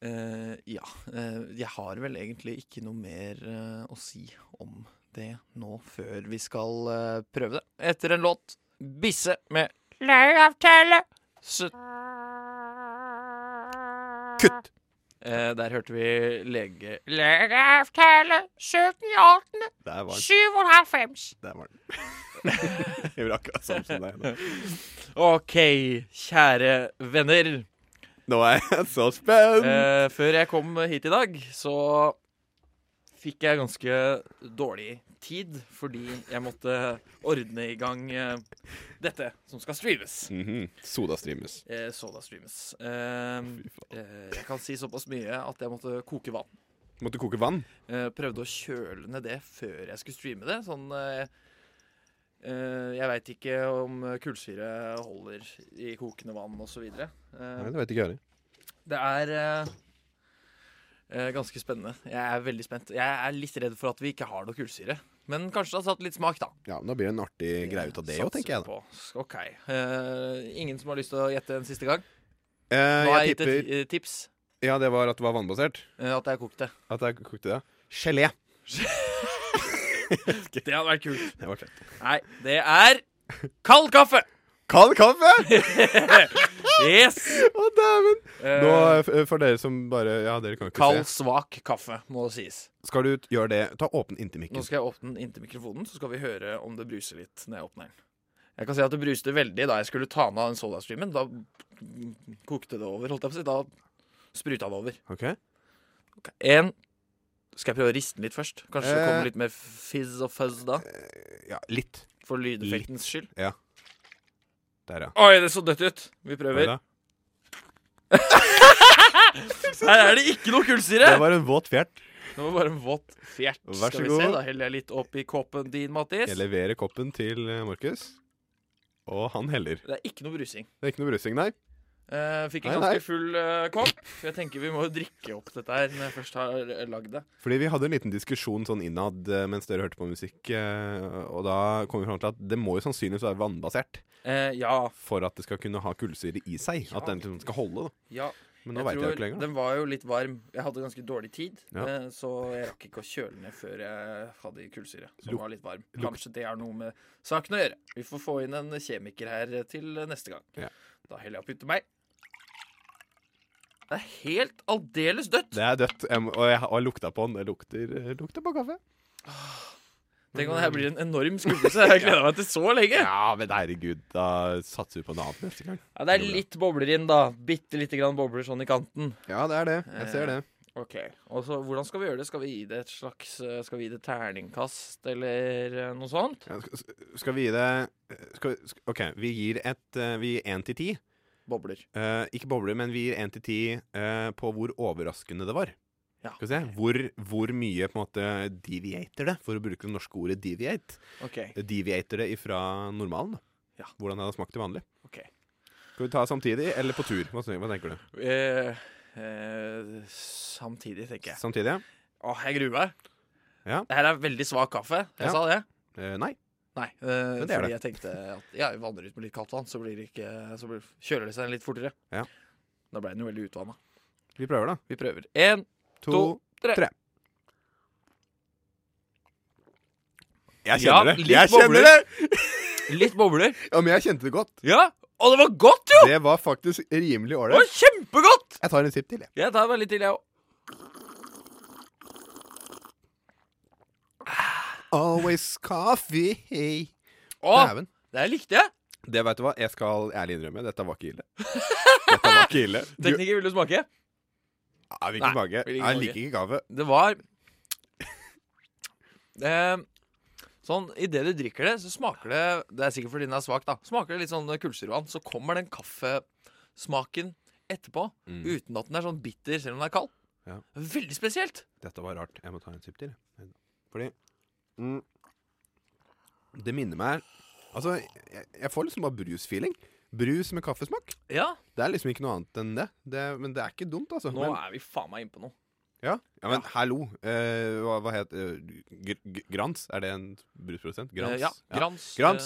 Speaker 2: Eh, ja. eh, jeg har vel egentlig ikke noe mer eh, å si om det nå, før vi skal eh, prøve det. Etter en låt. Bisse med Løyavtale. Sutt.
Speaker 3: Kutt!
Speaker 2: Eh, der hørte vi lege Legeavtale 1718
Speaker 3: Der var den.
Speaker 2: 97.
Speaker 3: Der var den. (laughs) jeg vil akkurat sånn som deg.
Speaker 2: (laughs)
Speaker 3: Nå.
Speaker 2: OK, kjære venner.
Speaker 3: nå er jeg så spent!
Speaker 2: Eh, før jeg kom hit i dag, så fikk jeg ganske dårlig tid fordi jeg måtte ordne i gang eh, dette som skal streames.
Speaker 3: Mhm. Soda streames.
Speaker 2: Eh, Soda streames. Eh, eh, jeg kan si såpass mye at jeg måtte koke vann.
Speaker 3: Måtte koke vann.
Speaker 2: Eh, prøvde å kjøle ned det før jeg skulle streame det. Sånn eh, eh, Jeg veit ikke om kullsyre holder i kokende vann osv. Eh,
Speaker 3: Nei, det vet ikke jeg heller.
Speaker 2: Det er eh, eh, ganske spennende. Jeg er veldig spent. Jeg er litt redd for at vi ikke har noe kullsyre. Men kanskje det har satt litt smak, da.
Speaker 3: Ja, men da blir det en artig greie ut av det òg,
Speaker 2: Satser
Speaker 3: tenker jeg. da
Speaker 2: På. OK. Eh, ingen som har lyst til å gjette en siste gang? Nå
Speaker 3: eh,
Speaker 2: har jeg
Speaker 3: Jeg
Speaker 2: gitt et
Speaker 3: tipper
Speaker 2: ti- eh, tips.
Speaker 3: Ja, det var at det var vannbasert.
Speaker 2: eh, At jeg
Speaker 3: (laughs)
Speaker 2: kokte.
Speaker 3: At jeg kokte det. Gelé.
Speaker 2: Det hadde vært kult.
Speaker 3: Det var fett.
Speaker 2: Nei, det er kald kaffe!
Speaker 3: (laughs) Kald kaffe!
Speaker 2: Yes!
Speaker 3: Å, dæven!
Speaker 2: Eh,
Speaker 3: Nå, eh, for dere som bare Ja, dere kan ikke
Speaker 2: Kald,
Speaker 3: se.
Speaker 2: svak kaffe, må det sies.
Speaker 3: Skal du t- gjøre det? Ta åpen
Speaker 2: Nå
Speaker 3: inntil mikken.
Speaker 2: skal jeg åpne den inntil mikrofonen, så skal vi høre om det bruser litt når jeg åpner den. Jeg kan si at det bruste veldig da jeg skulle ta den av den sodastreamen. Da kokte det over, holdt jeg på å si. Da spruta det over.
Speaker 3: Ok?
Speaker 2: En Skal jeg prøve å riste den litt først? Kanskje det
Speaker 3: Eh.
Speaker 2: kommer litt mer fizz og fuzz da?
Speaker 3: Ja, litt.
Speaker 2: For lydeffektens skyld.
Speaker 3: Der, ja.
Speaker 2: Oi, det så dødt ut. Vi prøver.
Speaker 3: Voilà.
Speaker 2: Her er det ikke noe kullsyre!
Speaker 3: Det
Speaker 2: Det var,
Speaker 3: var en våt fjert.
Speaker 2: bare en våt fjert.
Speaker 3: Vær så
Speaker 2: Skal vi
Speaker 3: god.
Speaker 2: se, da heller jeg litt opp i kåpen din, Mattis.
Speaker 3: Jeg leverer koppen til eh, Markus, og han heller.
Speaker 2: Det er ikke noe brusing.
Speaker 3: Det er ikke noe brusing, nei.
Speaker 2: Eh, fikk en
Speaker 3: Nei,
Speaker 2: ganske
Speaker 3: nei.
Speaker 2: full eh, kopp. Så jeg tenker vi må jo drikke opp dette her når jeg først har eh, lagd det.
Speaker 3: Fordi vi hadde en liten diskusjon sånn innad eh, mens dere hørte på musikk, eh, og da kom vi fram til at det må jo sannsynligvis være vannbasert
Speaker 2: Eh, ja.
Speaker 3: for at det skal kunne ha kullsyre i seg.
Speaker 2: Ja.
Speaker 3: At den liksom skal holde, da.
Speaker 2: ja.
Speaker 3: Men nå veit jeg jo ikke lenger. Da.
Speaker 2: Den var jo litt varm. Jeg hadde ganske dårlig tid,
Speaker 3: Ja.
Speaker 2: eh, så jeg rakk ikke å kjøle ned før jeg hadde i kullsyre, som
Speaker 3: Luk-
Speaker 2: var litt varm.
Speaker 3: luk-
Speaker 2: Kanskje det har noe med saken å gjøre. Vi får få inn en kjemiker her eh, til eh, neste gang.
Speaker 3: Ja.
Speaker 2: Da heller jeg opp uti meg. Det er helt aldeles dødt.
Speaker 3: Det er dødt. Jeg må, og jeg har lukta på den. Det lukter, eh, lukter på kaffe.
Speaker 2: Tenk om det her blir en enorm skuffelse.
Speaker 3: (laughs)
Speaker 2: Jeg gleder meg til så lenge.
Speaker 3: Ja, men herregud, da satser vi på noe annet neste gang.
Speaker 2: Ja, det er litt bobler inn, da. Bitte lite grann bobler sånn i kanten.
Speaker 3: Ja, det er det. Jeg ser det.
Speaker 2: Ok, og så Hvordan skal vi gjøre det? Skal vi gi det et slags eh, Skal vi gi det terningkast, eller eh, noe sånt?
Speaker 3: Ja, sk- skal vi gi det eh, skal, vi- sk- OK, vi gir et eh, Vi gir én til ti.
Speaker 2: Bobler.
Speaker 3: Eh, ikke bobler, men vi gir 1 til 10 eh, på hvor overraskende det var.
Speaker 2: Ja.
Speaker 3: Skal vi se, hvor, hvor mye på en måte deviater det, for å bruke det norske ordet deviate.
Speaker 2: Ok,
Speaker 3: Eh, Deviater det ifra normalen, da.
Speaker 2: Ja.
Speaker 3: Hvordan det hadde smakt til vanlig.
Speaker 2: ok
Speaker 3: Skal vi ta samtidig, eller på tur? Hva, tenker- hva tenker du?
Speaker 2: Eh, eh, Samtidig, tenker jeg.
Speaker 3: Samtidig? ja?
Speaker 2: Åh, jeg gruer meg.
Speaker 3: Ja.
Speaker 2: Det her er veldig svak kaffe. Jeg
Speaker 3: Ja.
Speaker 2: sa det.
Speaker 3: Eh, nei.
Speaker 2: Nei, eh,
Speaker 3: Men det er
Speaker 2: fordi jeg tenkte at ja, jeg vanner ut med litt kaldt vann, så, blir det ikke, så blir, kjøler det seg litt fortere.
Speaker 3: Ja.
Speaker 2: Da ble den jo veldig utvanna.
Speaker 3: Vi prøver, da.
Speaker 2: Vi prøver. Én,
Speaker 3: To,
Speaker 2: To, tre.
Speaker 3: tre. Jeg
Speaker 2: Ja,
Speaker 3: kjenner det.
Speaker 2: litt
Speaker 3: Jeg
Speaker 2: bobler.
Speaker 3: kjenner det!
Speaker 2: litt
Speaker 3: (laughs)
Speaker 2: bobler.
Speaker 3: Ja, men jeg kjente det godt.
Speaker 2: Ja! Og det var godt, jo!
Speaker 3: Det var faktisk rimelig
Speaker 2: Det var
Speaker 3: ålreit.
Speaker 2: kjempegodt!
Speaker 3: Jeg tar en sipp til, jeg.
Speaker 2: Jeg tar meg litt til, jeg òg.
Speaker 3: Always coffee.
Speaker 2: Å,
Speaker 3: Dæven.
Speaker 2: det her likte jeg.
Speaker 3: Det vet du hva, jeg skal ærlig innrømme, dette var ikke ille. Dette var ikke ille. Du,
Speaker 2: Tekniker, vil du smake?
Speaker 3: jeg vil
Speaker 2: Nei,
Speaker 3: ikke smake.
Speaker 2: vil ikke
Speaker 3: Jeg
Speaker 2: smake.
Speaker 3: liker ikke kaffe.
Speaker 2: Det var eh, Sånn, Idet du drikker det, så smaker det Det er sikkert fordi den er svak, da. Smaker det litt sånn kullsyrevann, så kommer den kaffesmaken etterpå. Uten at den er sånn bitter selv om den er kald.
Speaker 3: Mm. Ja.
Speaker 2: Veldig spesielt.
Speaker 3: Dette var rart. Jeg må ta en sipp til. jeg. Fordi mm, Det minner meg Altså, jeg, jeg får liksom bare brusfeeling. Brus med kaffesmak.
Speaker 2: Ja,
Speaker 3: Det er liksom ikke noe annet enn det. det men det er ikke dumt, altså.
Speaker 2: nå
Speaker 3: Men, Eh,
Speaker 2: er vi faen meg innpå noe.
Speaker 3: ja. ja, men hallo. Eh, hva, hva het eh, gr gr Grans? Er det en brusprodusent? Grans?
Speaker 2: Eh, ja, grans.
Speaker 3: Grans.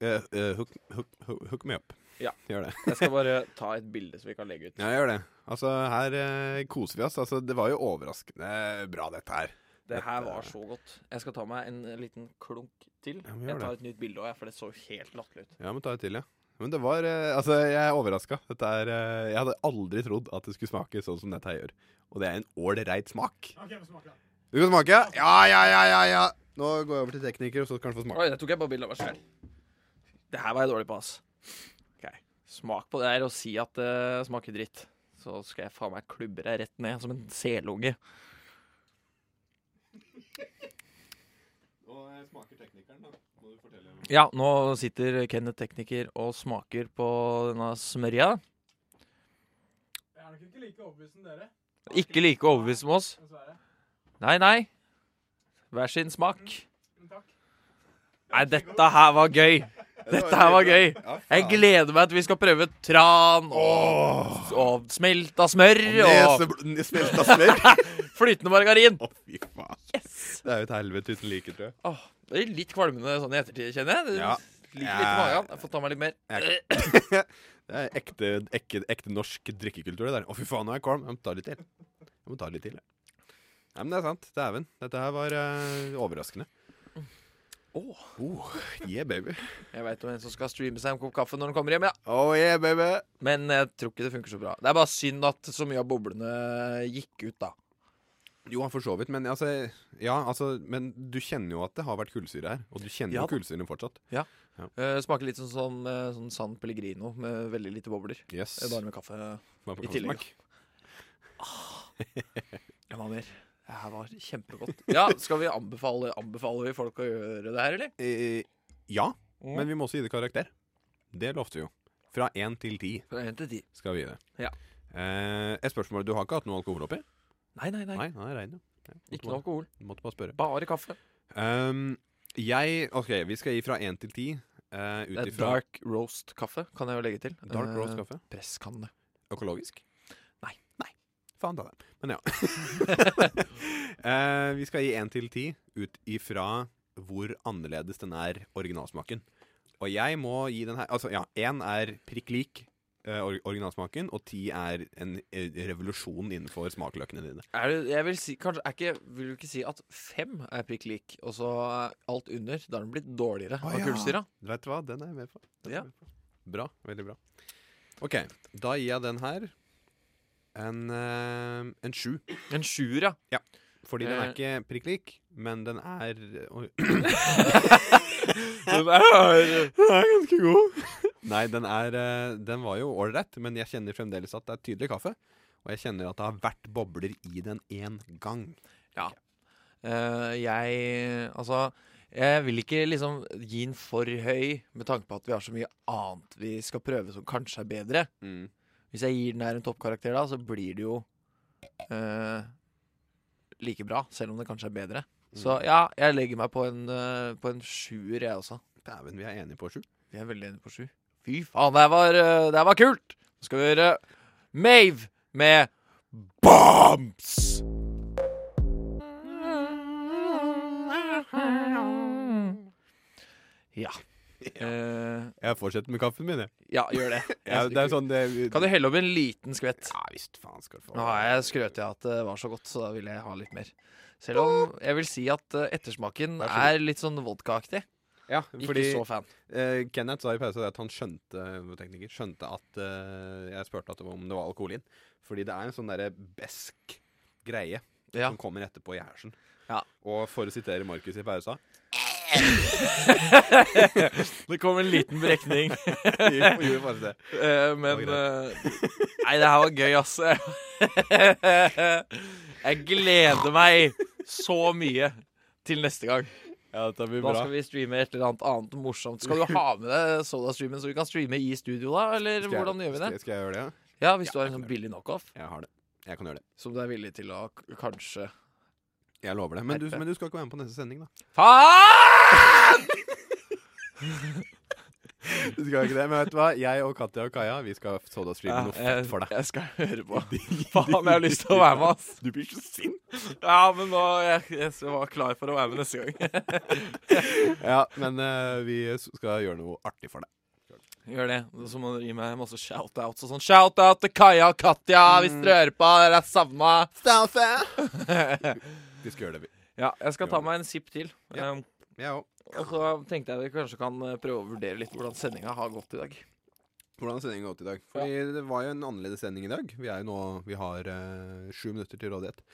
Speaker 3: Eh, eh, hook, hook, hook, hook me up.
Speaker 2: Ja.
Speaker 3: Gjør det.
Speaker 2: Eh, (laughs) jeg skal bare ta et bilde så vi kan legge ut.
Speaker 3: Ja, gjør det. Altså, her eh, koser vi oss. Altså, det var jo overraskende bra, dette her.
Speaker 2: Det her
Speaker 3: Dette-
Speaker 2: var så godt. Jeg skal ta meg en liten klunk til.
Speaker 3: Ja, men gjør
Speaker 2: jeg tar
Speaker 3: det.
Speaker 2: et nytt bilde òg, for det så helt latterlig ut.
Speaker 3: Ja, men ta det til, ja. Men det var eh, Altså, jeg er overraska. Dette er eh, Jeg hadde aldri trodd at det skulle smake sånn som dette her gjør. Og det er en ålreit smak.
Speaker 4: Ok, vi smaker den.
Speaker 3: Du kan smake, ja? Ja, ja, ja, ja, ja. Nå går jeg over til tekniker, og så kan du få smake.
Speaker 2: Oi, der tok jeg bare bilde av meg selv. Det her var jeg dårlig på, ass. Ok. Smak på det her og si at det smaker dritt. Så skal jeg faen meg klubbe deg rett ned som en selunge.
Speaker 3: Og jeg eh, smaker teknikeren, da. Må du fortelle meg.
Speaker 2: Ja, nå sitter Kenneth tekniker og smaker på denne smørja.
Speaker 4: Jeg er nok ikke like overbevist som dere,
Speaker 2: Ikke like overbevist som oss.
Speaker 4: dessverre.
Speaker 2: Nei, nei. Hver sin smak.
Speaker 4: Men takk.
Speaker 2: Nei, dette her var gøy. Dette her var gøy. Jeg gleder meg til vi skal prøver tran og,
Speaker 3: Åh,
Speaker 2: og smelta smør og
Speaker 3: Nesebl... Smelta smør.
Speaker 2: flytende margarin.
Speaker 3: Å, fy faen. Det er jo et helvete uten like, tror jeg.
Speaker 2: Åh, det er litt kvalmende sånn i ettertid, kjenner jeg.
Speaker 3: Ja.
Speaker 2: Det Ligger litt i magen. Jeg får ta meg litt mer.
Speaker 3: Jeg- Det er ekte, ekte, ekte norsk drikkekultur, det der. Å, fy faen, nå er jeg kvalm. Jeg må ta litt til. Jeg må ta litt til, jeg. Nei, men det er sant. Dæven. Dette her var eh, overraskende.
Speaker 2: Åh,
Speaker 3: Oh, yeah, baby.
Speaker 2: jeg veit om en som skal streame seg en kopp kaffe når han kommer hjem, ja.
Speaker 3: Oh, yeah, baby.
Speaker 2: Men jeg tror ikke det funker så bra. Det er bare synd at så mye av boblene gikk ut, da.
Speaker 3: Jo, for så vidt, men altså, ja, altså Men du kjenner jo at det har vært kullsyre her. Og du kjenner
Speaker 2: Ja
Speaker 3: jo
Speaker 2: da.
Speaker 3: kullsyren fortsatt.
Speaker 2: Eh, smaker litt sånn, sånn, eh, sånn San Pellegrino med veldig lite bobler.
Speaker 3: Yes.
Speaker 2: Eh, Bare med kaffe.
Speaker 3: Hva på
Speaker 2: i tillegg.
Speaker 3: kaffesmak?
Speaker 2: Ja, hva mer? Det her var kjempegodt. Ja, Skal vi anbefale Anbefaler vi folk å gjøre det her, eller?
Speaker 3: Eh, ja,
Speaker 2: Mm.
Speaker 3: men vi må også gi det karakter. Det lovte vi jo. Fra én til ti
Speaker 2: Fra én til ti.
Speaker 3: skal vi gi det.
Speaker 2: Ja.
Speaker 3: Eh, et spørsmål. Du har ikke hatt noe alkohol oppi?
Speaker 2: Nei, nei, nei.
Speaker 3: Nei, nei regn, jo. Ja, måtte
Speaker 2: Ikke noe
Speaker 3: bare-
Speaker 2: alkohol.
Speaker 3: Måtte bare spørre.
Speaker 2: Bare kaffe.
Speaker 3: Ehm, jeg OK, vi skal gi fra én til ti. Uh,
Speaker 2: Det
Speaker 3: Ut
Speaker 2: er
Speaker 3: ifra
Speaker 2: dark roast-kaffe, kan jeg jo legge til.
Speaker 3: Dark roast
Speaker 2: Eh,
Speaker 3: kaffe.
Speaker 2: Presskanne.
Speaker 3: Økologisk?
Speaker 2: Nei.
Speaker 3: Nei. Faen ta det.
Speaker 2: (laughs)
Speaker 3: Men ja. Eh, vi skal gi én til ti ut ifra hvor annerledes den er originalsmaken. Og jeg må gi den her Altså, ja, én er prikk lik eh, or originalsmaken, og ti er en eh, revolusjon innenfor smakløkene dine.
Speaker 2: Er det, jeg vil si, kanskje, er ikke, vil du ikke si at fem er prikk lik, og så er alt under? Da har den blitt dårligere
Speaker 3: Å,
Speaker 2: av
Speaker 3: ja.
Speaker 2: kullsyra.
Speaker 3: Vet du hva? Den er jeg med på. Den er
Speaker 2: Ja.
Speaker 3: jeg med på. Bra. Veldig bra. OK. Da gir jeg den her en, eh, en sju.
Speaker 2: En sjuer, ja.
Speaker 3: Fordi den er
Speaker 2: Eh.
Speaker 3: ikke prikk lik, men den er Oi. (clears throat)
Speaker 2: (laughs) Den er-
Speaker 3: Den er ganske god. (laughs) Nei, den, er, eh, den var jo ålreit, men jeg kjenner fremdeles at det er tydelig kaffe. Og jeg kjenner at det har vært bobler i den én gang.
Speaker 2: Eh, jeg Altså, jeg vil ikke liksom gi den for høy med tanke på at vi har så mye annet vi skal prøve som kanskje er bedre. Hvis jeg gir den her en toppkarakter, da, så blir det jo eh, like bra, selv om det kanskje er bedre.
Speaker 3: Mm.
Speaker 2: Så ja, jeg legger meg på en, eh, på en sjuer, jeg også.
Speaker 3: Dæven, vi er enige på sju.
Speaker 2: Vi er veldig enige på sju. Fy faen, det her var, eh, det her var kult! Nå skal vi høre Mave med Bombs! Ja. Eh,
Speaker 3: Jeg fortsetter med kaffen min, jeg.
Speaker 2: (laughs) ja, gjør det.
Speaker 3: Ja, det er sånn det
Speaker 2: Kan du helle opp en liten skvett?
Speaker 3: Ja visst, faen skal du få.
Speaker 2: Nå har jeg skrøt i at det var så godt, så da vil jeg ha litt mer. Selv om jeg vil si at eh, ettersmaken
Speaker 3: Vær så god.
Speaker 2: er litt sånn vodkaaktig.
Speaker 3: Ja,
Speaker 2: Ikke
Speaker 3: fordi
Speaker 2: så fan.
Speaker 3: eh, Kenneth sa i pausen at han skjønte vår tekniker, skjønte at eh, Jeg spurte at det var- om det var alkohol i den. Fordi det er en sånn derre besk greie
Speaker 2: Ja.
Speaker 3: som kommer etterpå i hersen.
Speaker 2: Ja.
Speaker 3: Og for å sitere Markus i (laughs) pausa
Speaker 2: Det kom en liten brekning.
Speaker 3: gjorde gjorde faktisk det.
Speaker 2: Eh, men
Speaker 3: Det var
Speaker 2: eh, Nei, det her var gøy, ass. (laughs) jeg gleder meg så mye til neste gang.
Speaker 3: Ja, dette blir
Speaker 2: Da skal vi streame et eller annet annet morsomt. Skal du ha med deg Soda-streamen, så vi kan streame i studio, da? Eller
Speaker 3: Skal jeg-
Speaker 2: hvordan gjør vi det?
Speaker 3: Skal, skal jeg gjøre det? ja?
Speaker 2: Ja, hvis
Speaker 3: Ja,
Speaker 2: du har
Speaker 3: jeg
Speaker 2: en sånn
Speaker 3: kan gjøre
Speaker 2: billig knockoff
Speaker 3: Jeg har det. Jeg kan gjøre det.
Speaker 2: som du er villig til å k- kanskje
Speaker 3: Jeg lover det. Men du,
Speaker 2: Herpe.
Speaker 3: men du skal ikke være med på neste sending, da.
Speaker 2: Faen!
Speaker 3: (laughs) Du skal ikke det, Men vet du hva? Jeg og Katja og Kaja Vi skal sodastreame noe fett for deg.
Speaker 2: Jeg skal høre
Speaker 3: (laughs)
Speaker 2: på. Faen, jeg har lyst til å være med, ass.
Speaker 3: Du blir så sint.
Speaker 2: Ja, men nå Jeg, jeg var klar for å være med neste gang.
Speaker 3: Ja, men eh, vi s- skal gjøre noe artig for deg.
Speaker 2: Gjør det. Og Så må dere gi meg masse shout-outs og sånn. Shout-out til Kaja og Katja hvis dere hører på. Dere er savna.
Speaker 3: Vi skal gjøre det, vi.
Speaker 2: (laughs) Ja, jeg skal ta meg en sipp til.
Speaker 3: Ja.
Speaker 2: Um,
Speaker 3: Jeg òg.
Speaker 2: og så tenkte jeg vi kanskje kan eh, prøve å vurdere litt hvordan sendinga har gått i dag.
Speaker 3: Hvordan har sendingen gått i dag? Fordi Det var jo en annerledes sending i dag. Vi, er jo nå, vi har eh, sju minutter til rådighet.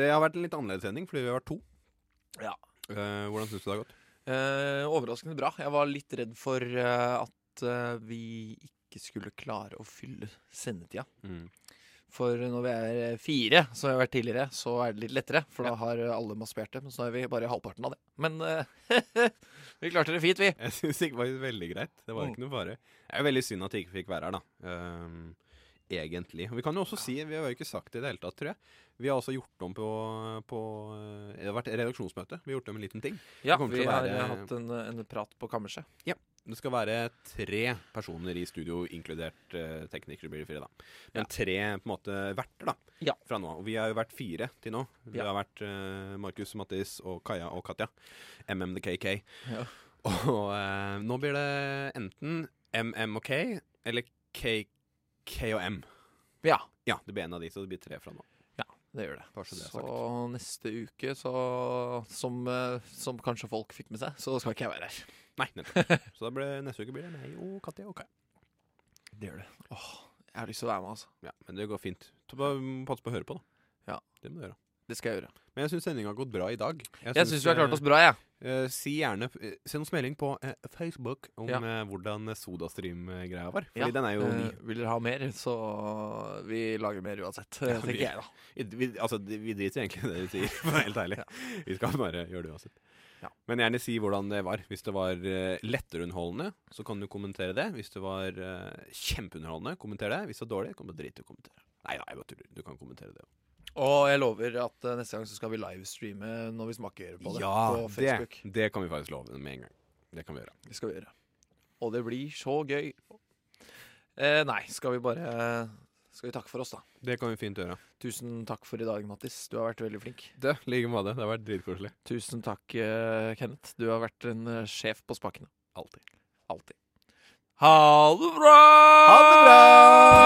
Speaker 3: Det har vært en litt annerledes sending fordi vi har vært to.
Speaker 2: Ja.
Speaker 3: Eh, hvordan syns du det har gått?
Speaker 2: Eh, overraskende bra. Jeg var litt redd for eh, at eh, vi ikke skulle klare å fylle sendetida. For når vi er eh, fire, som vi har vært tidligere, så er det litt lettere. For da har alle maspert det. Men så er vi bare halvparten av det. Men eh, (laughs) vi klarte det fint, vi.
Speaker 3: Jeg syns det var veldig greit. Det var ikke noe fare. Det er jo veldig synd at vi ikke fikk være her, da. Ehm, egentlig. Og vi kan jo også si, vi har jo ikke sagt det i det hele tatt, tror jeg. Vi har også gjort om på, på eh, Det har vært redaksjonsmøte. Vi har gjort om en liten ting.
Speaker 2: Ja,
Speaker 3: kommer
Speaker 2: vi
Speaker 3: til å
Speaker 2: har
Speaker 3: være-
Speaker 2: eh, hatt en, en prat på kammerset.
Speaker 3: Det skal være tre personer i studio, inkludert eh, teknikere, blir det fire, da. Men tre på en måte verter, da.
Speaker 2: Ja.
Speaker 3: Fra nå av. Og vi har jo vært fire til nå. Vi
Speaker 2: Ja.
Speaker 3: har vært eh, Markus, Mattis og Kaja og Katja. MMKK.
Speaker 2: Ja.
Speaker 3: (laughs) Og eh, nå blir det enten MM og K eller KK og M.
Speaker 2: Ja.
Speaker 3: Ja, det blir en av de, så det blir tre fra nå.
Speaker 2: Det gjør det.
Speaker 3: Bare så det er
Speaker 2: så neste uke, så, som, eh, som kanskje folk fikk med seg, så skal ikke jeg være her.
Speaker 3: Nei,
Speaker 2: (laughs)
Speaker 3: nettopp. Så da ble, neste uke blir det meg og Katja og Kai.
Speaker 2: Det gjør det. Åh, jeg har lyst til å være med, altså.
Speaker 3: Ja, men det går fint. Så bare må passe på å høre på, da.
Speaker 2: Ja.
Speaker 3: Det må du gjøre.
Speaker 2: Det skal jeg gjøre.
Speaker 3: Men jeg syns sendinga har gått bra i dag.
Speaker 2: Jeg syns vi har klart oss bra, jeg.
Speaker 3: Eh, si gjerne eh, Send oss melding på eh, Facebook om
Speaker 2: Ja.
Speaker 3: eh, hvordan Sodastream-greia var. Fordi
Speaker 2: Ja.
Speaker 3: den er jo ny.
Speaker 2: Eh, vil dere ha mer, så vi lager mer uansett.
Speaker 3: Ja,
Speaker 2: tenker
Speaker 3: vi-
Speaker 2: jeg, da.
Speaker 3: Vi, altså, d- vi driter egentlig i det vi sier, (laughs) for å være helt ærlig. Vi skal bare gjøre det uansett.
Speaker 2: Ja.
Speaker 3: Men gjerne si hvordan det var. Hvis det var eh, letterunderholdende, så kan du kommentere det. Hvis det var eh, kjempeunderholdende, kommenter det. Hvis det var dårlig, kan du drite i å kommentere. Nei, nei, jeg bare tuller. Du kan kommentere det.
Speaker 2: Og jeg lover at eh, neste gang så skal vi livestreame når vi smaker på det. på
Speaker 3: det,
Speaker 2: Facebook.
Speaker 3: det kan vi faktisk love med en gang. Det kan vi gjøre.
Speaker 2: Det skal vi gjøre. Og det blir så gøy. Eh, nei, skal vi bare eh, Skal vi takke for oss, da?
Speaker 3: Det kan vi fint gjøre.
Speaker 2: Tusen takk for i dag, Mattis. Du har vært veldig flink.
Speaker 3: Det, like med det. Det har vært dritkoselig.
Speaker 2: Tusen takk, eh, Kenneth. Du har vært en eh, sjef på spakene.
Speaker 3: Alltid.
Speaker 2: Alltid. Ha det bra!
Speaker 3: Ha det bra!